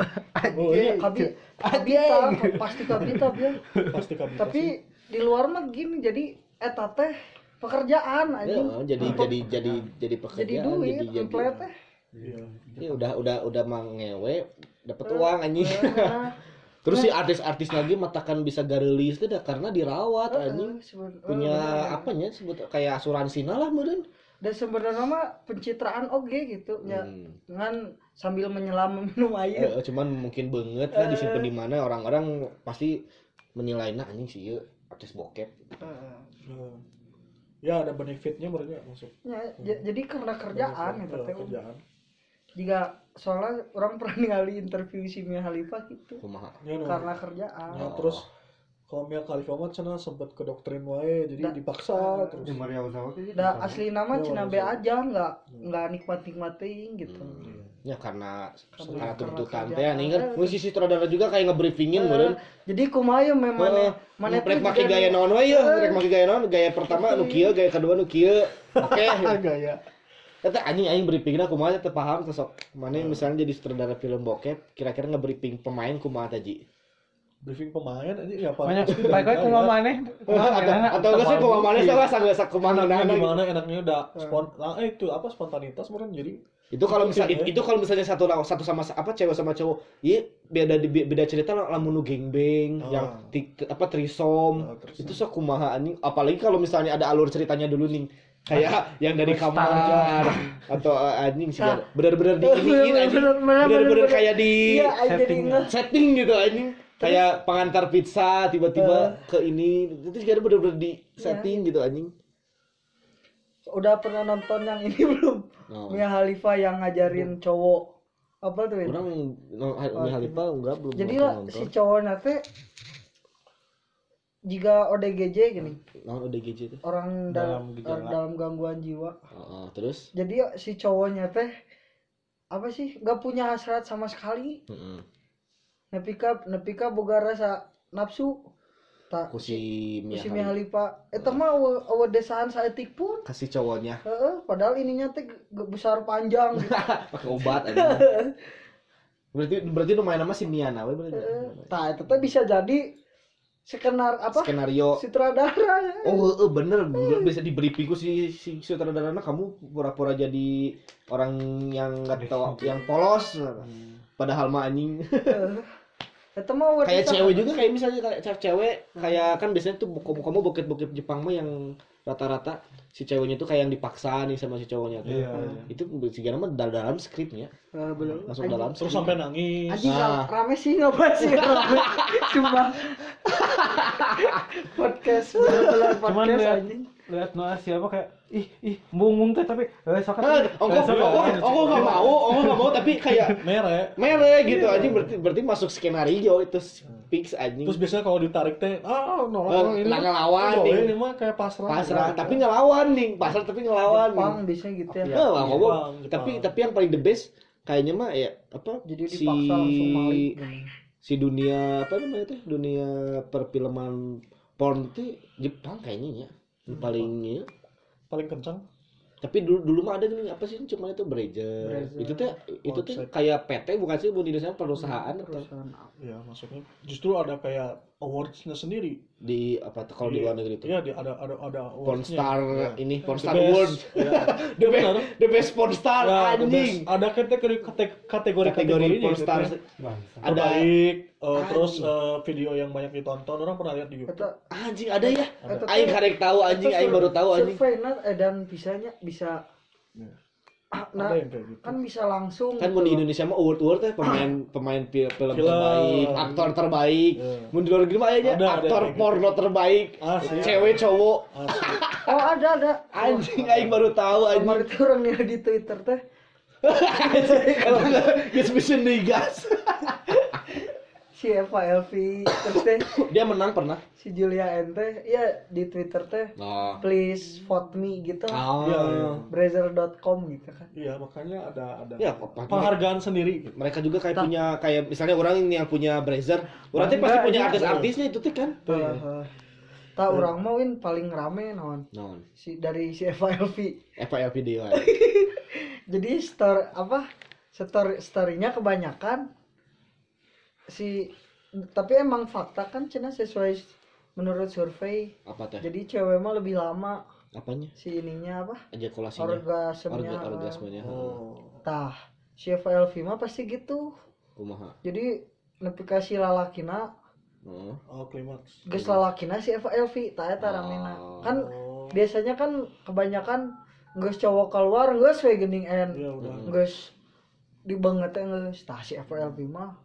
[SPEAKER 1] iya,
[SPEAKER 3] kabi kabita pasti kabita ya
[SPEAKER 1] pasti kamu.
[SPEAKER 3] tapi di luar mah gini jadi eta teh pekerjaan
[SPEAKER 2] Ya,
[SPEAKER 3] anjing
[SPEAKER 2] jadi jadi jadi jadi pekerjaan
[SPEAKER 3] jadi duit eh. emplet teh
[SPEAKER 1] Iya.
[SPEAKER 2] ya, udah udah udah mangewe dapat
[SPEAKER 3] Iya.
[SPEAKER 2] uang anjing
[SPEAKER 3] Nah,
[SPEAKER 2] terus si artis-artis lagi matakan bisa garelis itu dah karena dirawat anjing
[SPEAKER 3] eh, seben- eh,
[SPEAKER 2] punya
[SPEAKER 3] bener.
[SPEAKER 2] apanya sebut kayak asuransi nah lah meureun.
[SPEAKER 3] dan sebenarnya mah pencitraan oge gitu ya
[SPEAKER 2] Hmm.
[SPEAKER 3] ngan sambil menyelam minum air
[SPEAKER 2] Eh, cuman mungkin banget lah disimpan di mana orang-orang pasti menilai nah anjing sih ieu artis bokep.
[SPEAKER 3] Heeh.
[SPEAKER 1] Nah. Ya ada benefitnya mereka masuk.
[SPEAKER 3] Ya,
[SPEAKER 2] Hmm.
[SPEAKER 3] j- jadi karena kerjaan
[SPEAKER 2] Iya,
[SPEAKER 1] Benefit,
[SPEAKER 3] gitu
[SPEAKER 1] eh,
[SPEAKER 3] teh
[SPEAKER 1] Kerjaan.
[SPEAKER 3] jika soalnya orang pernah ningali interview si Mia Khalifa gitu
[SPEAKER 2] Kumaha?
[SPEAKER 1] Ya, nah.
[SPEAKER 3] karena kerjaan
[SPEAKER 2] Iya.
[SPEAKER 1] Nah, terus kalau Mia Khalifa mah cenah sempat ke doktrin wae jadi
[SPEAKER 3] Da-
[SPEAKER 1] dipaksa
[SPEAKER 3] Ah.
[SPEAKER 1] terus.
[SPEAKER 7] Di Maria Ozawa kayak
[SPEAKER 6] Nah,
[SPEAKER 7] gitu.
[SPEAKER 2] Iya.
[SPEAKER 3] da asli nama
[SPEAKER 1] Ya,
[SPEAKER 3] cina
[SPEAKER 1] walau
[SPEAKER 3] be
[SPEAKER 1] sama.
[SPEAKER 3] aja nggak nggak nikmat nikmatin gitu
[SPEAKER 2] Hmm. Ya karena karena
[SPEAKER 3] Karena-
[SPEAKER 2] tuntutan
[SPEAKER 3] karena
[SPEAKER 2] teh anjing kan
[SPEAKER 3] kerjaan.
[SPEAKER 2] musisi sutradara juga kayak ngebriefingin
[SPEAKER 3] Eh,
[SPEAKER 2] meureun.
[SPEAKER 3] jadi kumaha ya,
[SPEAKER 2] Heeh.
[SPEAKER 3] memang mana
[SPEAKER 2] Rek make gaya naon wae yeuh, rek make gaya naon? Gaya pertama nu kieu, gaya kedua nu kieu. Oke.
[SPEAKER 1] Gaya.
[SPEAKER 2] ya. Kata anjing anjing briefing aku mah teu paham teu sok. Mana misalnya jadi sutradara film bokep, kira-kira ngebriefing pemain kumaha teh, Ji?
[SPEAKER 1] Briefing pemain aja ya apa?
[SPEAKER 6] Banyak
[SPEAKER 1] Pasti dari
[SPEAKER 6] baik-baik
[SPEAKER 1] gaya.
[SPEAKER 6] kumaha maneh? Kumaha
[SPEAKER 2] atau
[SPEAKER 6] manehna?
[SPEAKER 2] atau enggak sih kumaha maneh sama sama kumaha
[SPEAKER 1] enaknya
[SPEAKER 2] manehna gitu.
[SPEAKER 1] gimana enaknya udah spon nah, eh, itu apa spontanitas meren jadi
[SPEAKER 2] itu kalau misalnya
[SPEAKER 1] Iya.
[SPEAKER 2] itu kalau misalnya satu lawan satu sama apa cewek sama cowok iya beda di- beda cerita lah lamun nu gengbeng
[SPEAKER 1] Oh.
[SPEAKER 2] yang ti- apa trisom
[SPEAKER 1] Oh, threesome.
[SPEAKER 2] Um, itu sok kumaha anjing apalagi kalau misalnya ada alur ceritanya dulu nih kayak yang dari
[SPEAKER 6] Western
[SPEAKER 2] kamar atau eh, anjing sih
[SPEAKER 3] Nah.
[SPEAKER 2] benar-benar di ini anjing benar-benar kayak di
[SPEAKER 3] iya ay, jadi
[SPEAKER 6] settingnya.
[SPEAKER 3] nggak
[SPEAKER 2] setting gitu anjing kayak pengantar pizza tiba-tiba ke ini itu juga benar-benar di setting gitu anjing
[SPEAKER 3] udah pernah nonton yang ini belum
[SPEAKER 2] Oh.
[SPEAKER 3] Mia Khalifa yang ngajarin cowok apa tuh Win?
[SPEAKER 2] orang no, Umi Halipa enggak belum
[SPEAKER 3] jadi
[SPEAKER 2] pernah
[SPEAKER 3] lah si cowok nanti jika ODGJ gini
[SPEAKER 2] Nah, udah gitu tuh.
[SPEAKER 3] orang dalam dalam, gangguan jiwa
[SPEAKER 2] Heeh, terus
[SPEAKER 3] jadi si cowoknya teh apa sih nggak punya hasrat sama sekali
[SPEAKER 2] Heeh.
[SPEAKER 3] nepika nepika boga rasa nafsu tak
[SPEAKER 2] Ku si Mia
[SPEAKER 3] si
[SPEAKER 2] Khalifa.
[SPEAKER 3] Mihalipa eta Eh, mah awe- awe desaan saeutik pun
[SPEAKER 2] kasih cowoknya
[SPEAKER 3] Heeh, padahal ininya teh ge- ge- besar panjang gitu.
[SPEAKER 2] pakai obat aja. berarti berarti lumayan nama si Mia Nawe berarti.
[SPEAKER 3] Tah eta teh bisa jadi skenar apa?
[SPEAKER 2] Skenario
[SPEAKER 3] Sutradara.
[SPEAKER 2] Oh heeh, bener, Gua bisa diberi piku si, si sutradarana kamu pura-pura jadi orang yang nggak tahu yang polos, Hmm. padahal mah anjing.
[SPEAKER 3] Eta mah awe
[SPEAKER 2] kayak
[SPEAKER 3] desa-
[SPEAKER 2] Hmm. cewek juga kayak misalnya kayak cewek kayak kan biasanya tuh kamu kamu bokep bokep Jepang mah yang rata-rata si ceweknya tuh kayak yang dipaksa nih sama si cowoknya tuh.
[SPEAKER 6] Iya.
[SPEAKER 1] Ya.
[SPEAKER 2] Itu segala mah dal- dalam skripnya,
[SPEAKER 3] Eh, belum.
[SPEAKER 2] masuk dalam
[SPEAKER 1] Terus
[SPEAKER 2] skrip.
[SPEAKER 1] sampai nangis.
[SPEAKER 3] Anjing
[SPEAKER 2] Ah.
[SPEAKER 3] ra- rame sih ngapain sih rame. Cuma podcast bener-bener
[SPEAKER 6] Cuman
[SPEAKER 3] podcast
[SPEAKER 6] lihat
[SPEAKER 3] anjing.
[SPEAKER 6] lihat Noah siapa kayak ih ih bungung teh tapi eh sok
[SPEAKER 2] Ah,
[SPEAKER 6] atuh.
[SPEAKER 2] ongko,
[SPEAKER 6] Eh, sok
[SPEAKER 2] ongko,
[SPEAKER 6] atuh.
[SPEAKER 2] ongko nggak mau, ongko nggak mau, tapi kayak
[SPEAKER 1] Nah, Mere.
[SPEAKER 2] mere gitu anjing berarti berarti masuk skenario itu fix anjing.
[SPEAKER 1] Hmm. Terus biasanya kalau ditarik teh, ah
[SPEAKER 2] Eh,
[SPEAKER 1] nolak
[SPEAKER 2] nah, ngelawan,
[SPEAKER 1] Boleh,
[SPEAKER 2] ding.
[SPEAKER 1] ini Iya. mah kayak pasrah. Gitu.
[SPEAKER 2] pasrah tapi ngelawan nih pasrah tapi ngelawan
[SPEAKER 3] Jepang biasanya gitu ya.
[SPEAKER 2] Nah, lah, ngomong.
[SPEAKER 1] Jepang, Iya, Jepang.
[SPEAKER 2] tapi tapi yang paling the best kayaknya mah ya apa
[SPEAKER 3] Jadi
[SPEAKER 2] si
[SPEAKER 3] dipaksa langsung Hmm. malik. gini.
[SPEAKER 2] si dunia apa namanya teh dunia perfilman porn itu Jepang kayaknya ya
[SPEAKER 1] Hmm,
[SPEAKER 2] Yang paling ya.
[SPEAKER 1] Paling kencang.
[SPEAKER 2] tapi dulu dulu mah ada gini apa sih cuma itu Brazzers
[SPEAKER 3] Brazzers,
[SPEAKER 2] itu teh itu teh
[SPEAKER 1] Website.
[SPEAKER 2] kayak PT bukan sih bu di Indonesia perusahaan atau
[SPEAKER 3] Perusahaan apa?
[SPEAKER 1] Ya maksudnya justru ada kayak awardsnya sendiri.
[SPEAKER 2] di apa tuh, kalau di luar negeri itu
[SPEAKER 1] Iya, di- ada ada ada awardsnya.
[SPEAKER 2] Pornstar ini
[SPEAKER 1] The
[SPEAKER 2] Pornstar
[SPEAKER 1] best.
[SPEAKER 2] World
[SPEAKER 1] Iya.
[SPEAKER 2] the best
[SPEAKER 1] Bener.
[SPEAKER 2] the best Pornstar
[SPEAKER 1] Ya, the
[SPEAKER 2] anjing
[SPEAKER 1] best. Ada kategori kate- kategori
[SPEAKER 2] kategori Pornstar
[SPEAKER 1] Ada
[SPEAKER 2] ada
[SPEAKER 1] baik terus
[SPEAKER 2] Anjing.
[SPEAKER 1] eh, video yang banyak ditonton orang pernah lihat di YouTube.
[SPEAKER 3] Eta
[SPEAKER 2] anjing ada ya
[SPEAKER 3] eta teh-
[SPEAKER 2] Gitu. aing karek tahu anjing
[SPEAKER 3] eta
[SPEAKER 2] aing baru tahu anjing
[SPEAKER 3] Survei nah, eh, dan bisanya bisa Ah,
[SPEAKER 1] Iya. Ada
[SPEAKER 3] nah,
[SPEAKER 1] yang kayak gitu.
[SPEAKER 3] kan bisa langsung
[SPEAKER 2] kan mau di Indonesia mah award award teh pemain pemain film, film
[SPEAKER 1] Ah. Film.
[SPEAKER 2] terbaik aktor terbaik
[SPEAKER 1] Iya.
[SPEAKER 2] mau di luar negeri mah aja
[SPEAKER 1] Ada, ada Ah,
[SPEAKER 2] aktor
[SPEAKER 1] kayak gitu.
[SPEAKER 2] porno terbaik
[SPEAKER 1] Asli.
[SPEAKER 2] cewek cowok
[SPEAKER 1] Asli.
[SPEAKER 3] Oh ada ada.
[SPEAKER 2] anjing
[SPEAKER 1] Iya.
[SPEAKER 2] aing baru tahu anjing
[SPEAKER 3] Kemarin tuh orang ngira di Twitter teh.
[SPEAKER 2] kalau nggak guys mission nih guys
[SPEAKER 3] Si Eva Elvi terus teh
[SPEAKER 2] dia menang pernah
[SPEAKER 3] si Julia Ente ya di Twitter teh
[SPEAKER 2] nah
[SPEAKER 3] please vote me gitu
[SPEAKER 1] Iya, iya.
[SPEAKER 2] ah.
[SPEAKER 3] Brazzer.com gitu kan
[SPEAKER 1] Iya, makanya ada ada
[SPEAKER 2] Ya, apa-
[SPEAKER 1] penghargaan sendiri.
[SPEAKER 2] mereka juga kayak punya kayak misalnya orang ini yang punya Brazzer orang teh pasti
[SPEAKER 3] Enggak,
[SPEAKER 2] punya
[SPEAKER 3] iya.
[SPEAKER 2] artis-artisnya itu teh kan
[SPEAKER 3] Heeh. tak orang mau win paling rame naon
[SPEAKER 2] non
[SPEAKER 3] si dari si Eva Elvi
[SPEAKER 2] FILP dia
[SPEAKER 3] jadi story apa story storynya kebanyakan si tapi emang fakta kan cina sesuai menurut survei
[SPEAKER 2] apa teh
[SPEAKER 3] jadi cewek mah lebih lama
[SPEAKER 2] apanya
[SPEAKER 3] si ininya apa
[SPEAKER 2] ejakulasinya
[SPEAKER 3] orgasmenya
[SPEAKER 2] Orga, orgasmenya
[SPEAKER 1] Oh.
[SPEAKER 3] tah si Eva Elvi mah pasti gitu
[SPEAKER 2] kumaha
[SPEAKER 3] jadi nepikasi lalakina
[SPEAKER 2] Heeh.
[SPEAKER 1] Oh, klimaks.
[SPEAKER 3] geus lalakina si Eva Elvi tak eta ramena
[SPEAKER 2] Oh.
[SPEAKER 3] kan
[SPEAKER 1] Oh.
[SPEAKER 3] biasanya kan kebanyakan geus cowok keluar geus we geuning
[SPEAKER 1] Iya,
[SPEAKER 3] en
[SPEAKER 1] udah.
[SPEAKER 2] Hmm.
[SPEAKER 3] geus dibanget geus tah si Eva Elvi mah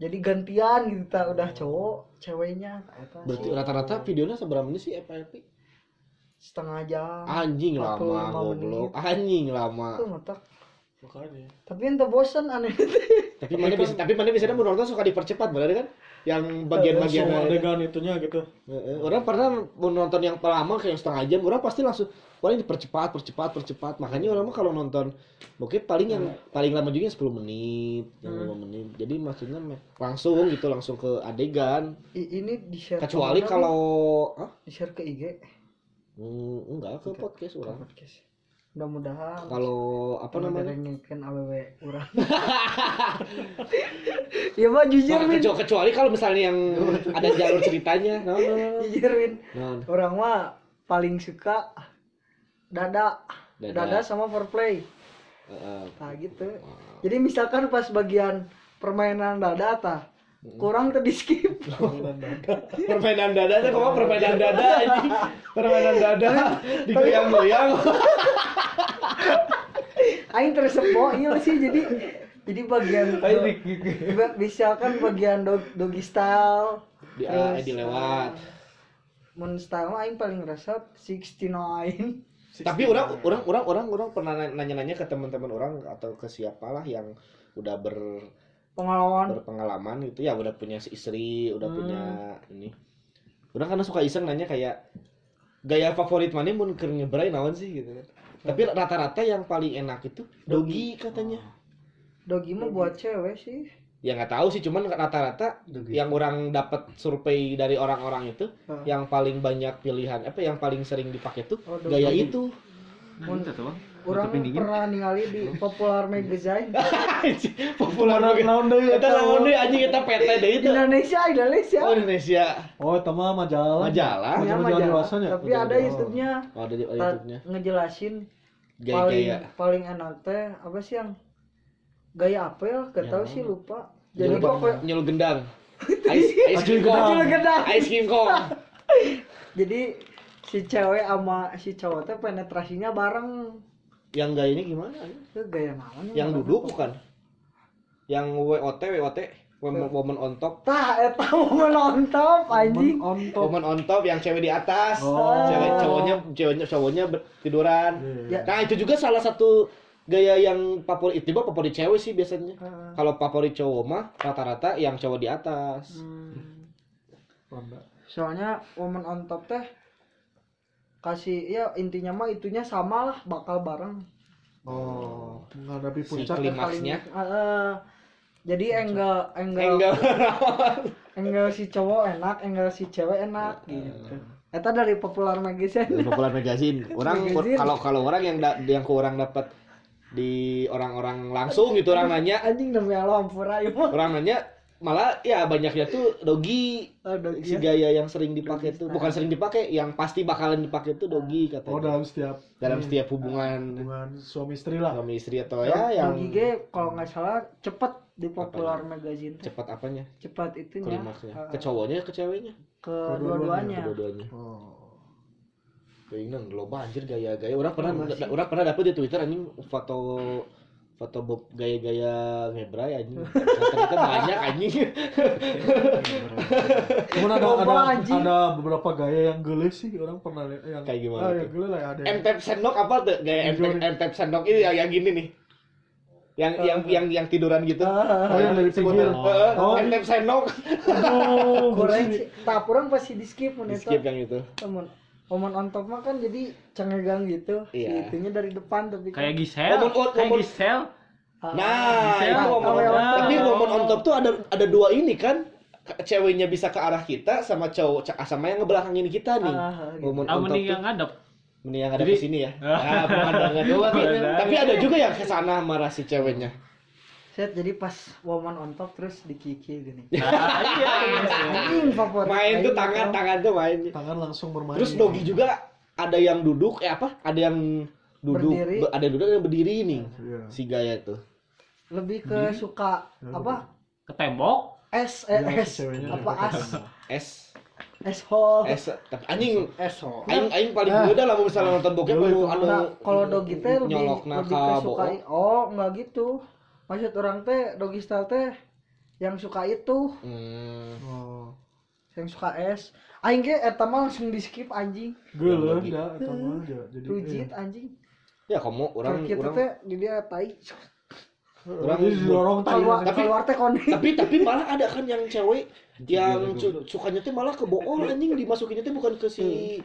[SPEAKER 3] jadi gantian gitu tak
[SPEAKER 2] Oh.
[SPEAKER 3] udah cowok ceweknya tak eta
[SPEAKER 2] berarti rata-rata videonya seberapa menit sih FILP
[SPEAKER 3] setengah jam
[SPEAKER 2] anjing
[SPEAKER 3] 45
[SPEAKER 2] lama
[SPEAKER 3] menit.
[SPEAKER 2] goblok anjing lama
[SPEAKER 3] tuh matak
[SPEAKER 1] Makanya.
[SPEAKER 3] tapi ente bosan aneh
[SPEAKER 2] tapi mana bisa tapi mana bisa mau nonton suka dipercepat benar kan yang bagian-bagian
[SPEAKER 1] Langsung
[SPEAKER 2] lainnya.
[SPEAKER 1] adegan itunya gitu.
[SPEAKER 2] Heeh. orang pernah mau nonton yang lama kayak setengah jam orang pasti langsung orang dipercepat percepat percepat makanya orang mah kalau nonton mungkin paling yang paling lama juga 10 menit yang 5 menit jadi maksudnya me- langsung gitu langsung ke adegan
[SPEAKER 3] I- ini di share
[SPEAKER 2] kecuali kalau Hah?
[SPEAKER 3] di share ke IG
[SPEAKER 2] Hmm, enggak ke podcast
[SPEAKER 3] ke
[SPEAKER 2] orang
[SPEAKER 3] podcast mudah-mudahan
[SPEAKER 2] kalau apa namanya
[SPEAKER 3] kan aww urang ya mah jujur
[SPEAKER 2] Nah,
[SPEAKER 3] win
[SPEAKER 2] kecuali, kecuali kalau misalnya yang ada jalur ceritanya no, no, no,
[SPEAKER 3] jujur win
[SPEAKER 2] no. No.
[SPEAKER 3] orang mah paling suka dada
[SPEAKER 2] Dada.
[SPEAKER 3] dada, sama foreplay
[SPEAKER 2] Heeh.
[SPEAKER 3] nah gitu jadi misalkan pas bagian permainan dada tah kurang tadi skip
[SPEAKER 2] permainan dada tuh kok permainan dada anjing permainan dada digoyang-goyang
[SPEAKER 3] aing tersepo iya sih jadi jadi bagian ba- misalkan bagian dog, doggy style
[SPEAKER 2] di, ah,
[SPEAKER 3] Terus, eh,
[SPEAKER 2] dilewat
[SPEAKER 3] mun style mah aing paling resep 69
[SPEAKER 2] tapi orang orang orang orang orang pernah nanya-nanya ke teman-teman orang atau ke siapalah yang udah ber
[SPEAKER 3] pengalaman
[SPEAKER 2] berpengalaman gitu ya udah punya istri udah punya ini orang karena suka iseng nanya kayak gaya favorit mana mun keur ngebrai naon sih gitu kan tapi rata-rata yang paling enak itu dogi katanya
[SPEAKER 3] dogi mah buat cewek sih
[SPEAKER 2] ya nggak tahu sih cuman rata-rata
[SPEAKER 7] gitu.
[SPEAKER 6] Ya.
[SPEAKER 2] yang orang dapat survei dari orang-orang itu
[SPEAKER 3] Hah.
[SPEAKER 2] yang paling banyak pilihan apa yang paling sering dipakai tuh
[SPEAKER 3] Oh, dogi.
[SPEAKER 2] gaya itu
[SPEAKER 3] Mun- orang pernah ningali di popular magazine
[SPEAKER 2] populer banget naon deui eta naon deui anjing eta PT deui itu
[SPEAKER 3] Indonesia Indonesia
[SPEAKER 2] Iya. oh Indonesia
[SPEAKER 6] Oh, tema majalah.
[SPEAKER 2] majalah
[SPEAKER 3] Punya
[SPEAKER 6] Majalah
[SPEAKER 3] majalah,
[SPEAKER 6] dewasanya?
[SPEAKER 2] ya.
[SPEAKER 3] tapi
[SPEAKER 6] Majalah
[SPEAKER 3] ada
[SPEAKER 6] dewasa.
[SPEAKER 3] YouTube-nya
[SPEAKER 2] oh ada di ada
[SPEAKER 3] ta-
[SPEAKER 2] YouTube-nya
[SPEAKER 3] ngejelasin paling
[SPEAKER 2] gaya-gaya
[SPEAKER 3] paling enak teh apa sih yang gaya apa ya gak tau sih lupa jadi
[SPEAKER 2] Nyul-
[SPEAKER 3] pokok-
[SPEAKER 2] nyul gendang. Ice, ice cream
[SPEAKER 6] Nyul
[SPEAKER 2] cone.
[SPEAKER 3] gendang.
[SPEAKER 2] Ice cream cone.
[SPEAKER 3] jadi si cewek sama si cowok teh penetrasinya bareng
[SPEAKER 2] yang gaya ini gimana
[SPEAKER 3] itu gaya naon
[SPEAKER 2] yang duduk bukan yang WOT WOT
[SPEAKER 3] Iya.
[SPEAKER 2] woman, woman on top
[SPEAKER 3] tah eta mau nonton anjing
[SPEAKER 7] on top
[SPEAKER 2] woman on top yang cewek di atas
[SPEAKER 7] Oh.
[SPEAKER 2] cewek cowoknya ceweknya cowoknya ber- tiduran
[SPEAKER 7] Iya.
[SPEAKER 2] nah itu juga salah satu gaya yang favorit tiba favorit cewek sih biasanya kalau favorit cowok mah rata-rata yang cowok di atas
[SPEAKER 3] Hmm. soalnya woman on top teh kasih ya intinya mah itunya sama lah bakal bareng
[SPEAKER 1] Oh, menghadapi
[SPEAKER 2] si
[SPEAKER 1] puncak.
[SPEAKER 2] klimaksnya
[SPEAKER 3] Eh, eh, jadi angle angle
[SPEAKER 2] enggak
[SPEAKER 3] angle si cowok enak angle si cewek enak gitu eta dari popular magazine
[SPEAKER 2] populer magazine orang
[SPEAKER 3] Magazine.
[SPEAKER 2] kalau kalau orang yang da- yang ku orang dapat di orang-orang langsung gitu orang nanya
[SPEAKER 3] anjing demi Allah ampura ieu mah
[SPEAKER 2] orang nanya malah ya banyaknya tuh dogi
[SPEAKER 3] aduh
[SPEAKER 2] si
[SPEAKER 3] iya
[SPEAKER 2] gaya yang sering dipakai tuh bukan sering dipakai yang pasti bakalan dipakai tuh dogi katanya
[SPEAKER 1] Oh, dalam setiap
[SPEAKER 2] dalam setiap hubungan
[SPEAKER 1] hubungan suami istri lah.
[SPEAKER 2] suami istri atau ya yang
[SPEAKER 3] Bagi ge kalau nggak salah cepet di popular magazine teh
[SPEAKER 2] cepat apanya
[SPEAKER 3] cepat
[SPEAKER 1] Iya.
[SPEAKER 3] itunya
[SPEAKER 2] klimaksnya
[SPEAKER 1] Ah.
[SPEAKER 3] eh,
[SPEAKER 2] ke cowoknya ke ceweknya
[SPEAKER 3] ke
[SPEAKER 1] Iya.
[SPEAKER 3] dua-duanya
[SPEAKER 2] kedua-duanya
[SPEAKER 1] Oh.
[SPEAKER 2] Keinginan loba anjir
[SPEAKER 1] Iya,
[SPEAKER 2] gaya-gaya. Orang pernah da- orang pernah dapet di Twitter anjing foto foto bob gaya-gaya ngebray anjing. Ternyata banyak anjing.
[SPEAKER 1] Iya. Cuman ada,
[SPEAKER 3] Loba,
[SPEAKER 1] ada,
[SPEAKER 3] anjing.
[SPEAKER 1] ada beberapa gaya yang gele sih orang pernah lihat yang
[SPEAKER 2] Kayak gimana
[SPEAKER 1] Ah,
[SPEAKER 2] tuh?
[SPEAKER 1] yang gele lah ada.
[SPEAKER 3] Eh,
[SPEAKER 1] yang-
[SPEAKER 2] Entep sendok apa tuh? Gaya entep, entep sendok ini yang, yang gini nih. Yang yang yang yang tiduran gitu.
[SPEAKER 1] Ah.
[SPEAKER 2] Eh,
[SPEAKER 1] Oh, yang dari pinggir.
[SPEAKER 2] Heeh,
[SPEAKER 1] Oh.
[SPEAKER 2] entep sendok.
[SPEAKER 1] Oh,
[SPEAKER 3] goreng tak kurang pasti di skip mun
[SPEAKER 2] Di
[SPEAKER 3] eta
[SPEAKER 2] skip yang itu.
[SPEAKER 3] temen Omon on top mah kan jadi cengegang gitu
[SPEAKER 2] Iya.
[SPEAKER 3] si itunya dari depan tapi
[SPEAKER 6] Kayak
[SPEAKER 3] gitu
[SPEAKER 6] Gisel,
[SPEAKER 2] Woman on-
[SPEAKER 6] kayak
[SPEAKER 2] woman-
[SPEAKER 6] Gisel.
[SPEAKER 3] Ah.
[SPEAKER 2] Nah,
[SPEAKER 6] Bisa
[SPEAKER 2] itu
[SPEAKER 6] ya,
[SPEAKER 2] momen on top.
[SPEAKER 3] tahu ya.
[SPEAKER 2] Tapi momen on top tuh ada ada dua ini kan. Ke- Ceweknya bisa ke arah kita sama cowok ca- sama yang ngebelakangin kita nih.
[SPEAKER 3] Ah, gitu.
[SPEAKER 2] Momen on
[SPEAKER 6] Ah,
[SPEAKER 2] top
[SPEAKER 6] mending
[SPEAKER 2] tuh.
[SPEAKER 6] yang ngadep.
[SPEAKER 2] Mending yang ada
[SPEAKER 6] Jadi-
[SPEAKER 2] di sini ya. Ah, bukan banget. Tapi ada juga yang ke sana marah si ceweknya.
[SPEAKER 3] set jadi pas woman on top terus dikiki gini
[SPEAKER 6] Ah, iya, iya, iya.
[SPEAKER 3] anjing favorit
[SPEAKER 2] Main tuh
[SPEAKER 3] aing,
[SPEAKER 2] tangan,
[SPEAKER 3] Om.
[SPEAKER 2] tangan tuh main.
[SPEAKER 1] tangan langsung bermain.
[SPEAKER 2] Terus dogi juga ada yang duduk, eh apa? Ada yang duduk,
[SPEAKER 3] Berdiri.
[SPEAKER 2] Be- ada yang duduk ada yang berdiri nih.
[SPEAKER 1] Iya.
[SPEAKER 2] Si gaya tuh.
[SPEAKER 3] lebih ke suka apa
[SPEAKER 6] Ke tembok.
[SPEAKER 3] es eh,
[SPEAKER 1] Iya,
[SPEAKER 3] es
[SPEAKER 1] ceweknya.
[SPEAKER 3] apa as
[SPEAKER 2] S
[SPEAKER 3] es hole
[SPEAKER 2] S tapi anjing
[SPEAKER 3] es hole
[SPEAKER 2] aing aing paling beda lah mun misalnya nonton bokep anu anu
[SPEAKER 3] Nah, kalau dogi teh lebih
[SPEAKER 2] nyolokna ka
[SPEAKER 3] lebih ke
[SPEAKER 2] bohong.
[SPEAKER 3] suka oh nggak gitu maksud orang teh dogi style teh yang suka itu
[SPEAKER 2] Hmm.
[SPEAKER 1] Oh.
[SPEAKER 3] yang suka es aing ge eta mah langsung di skip anjing
[SPEAKER 1] Gele ya, eta mah ya. Jadi eh,
[SPEAKER 3] rujit anjing
[SPEAKER 2] Ya kamu orang
[SPEAKER 3] orang kita
[SPEAKER 2] orang
[SPEAKER 3] teh di dia tai
[SPEAKER 1] orang jadi didorong tai.
[SPEAKER 3] keluar
[SPEAKER 2] Tapi-
[SPEAKER 3] keluar teh kondi
[SPEAKER 2] tapi tapi malah ada kan yang cewek yang su- sukanya tuh malah ke bool anjing dimasukinnya tuh bukan ke si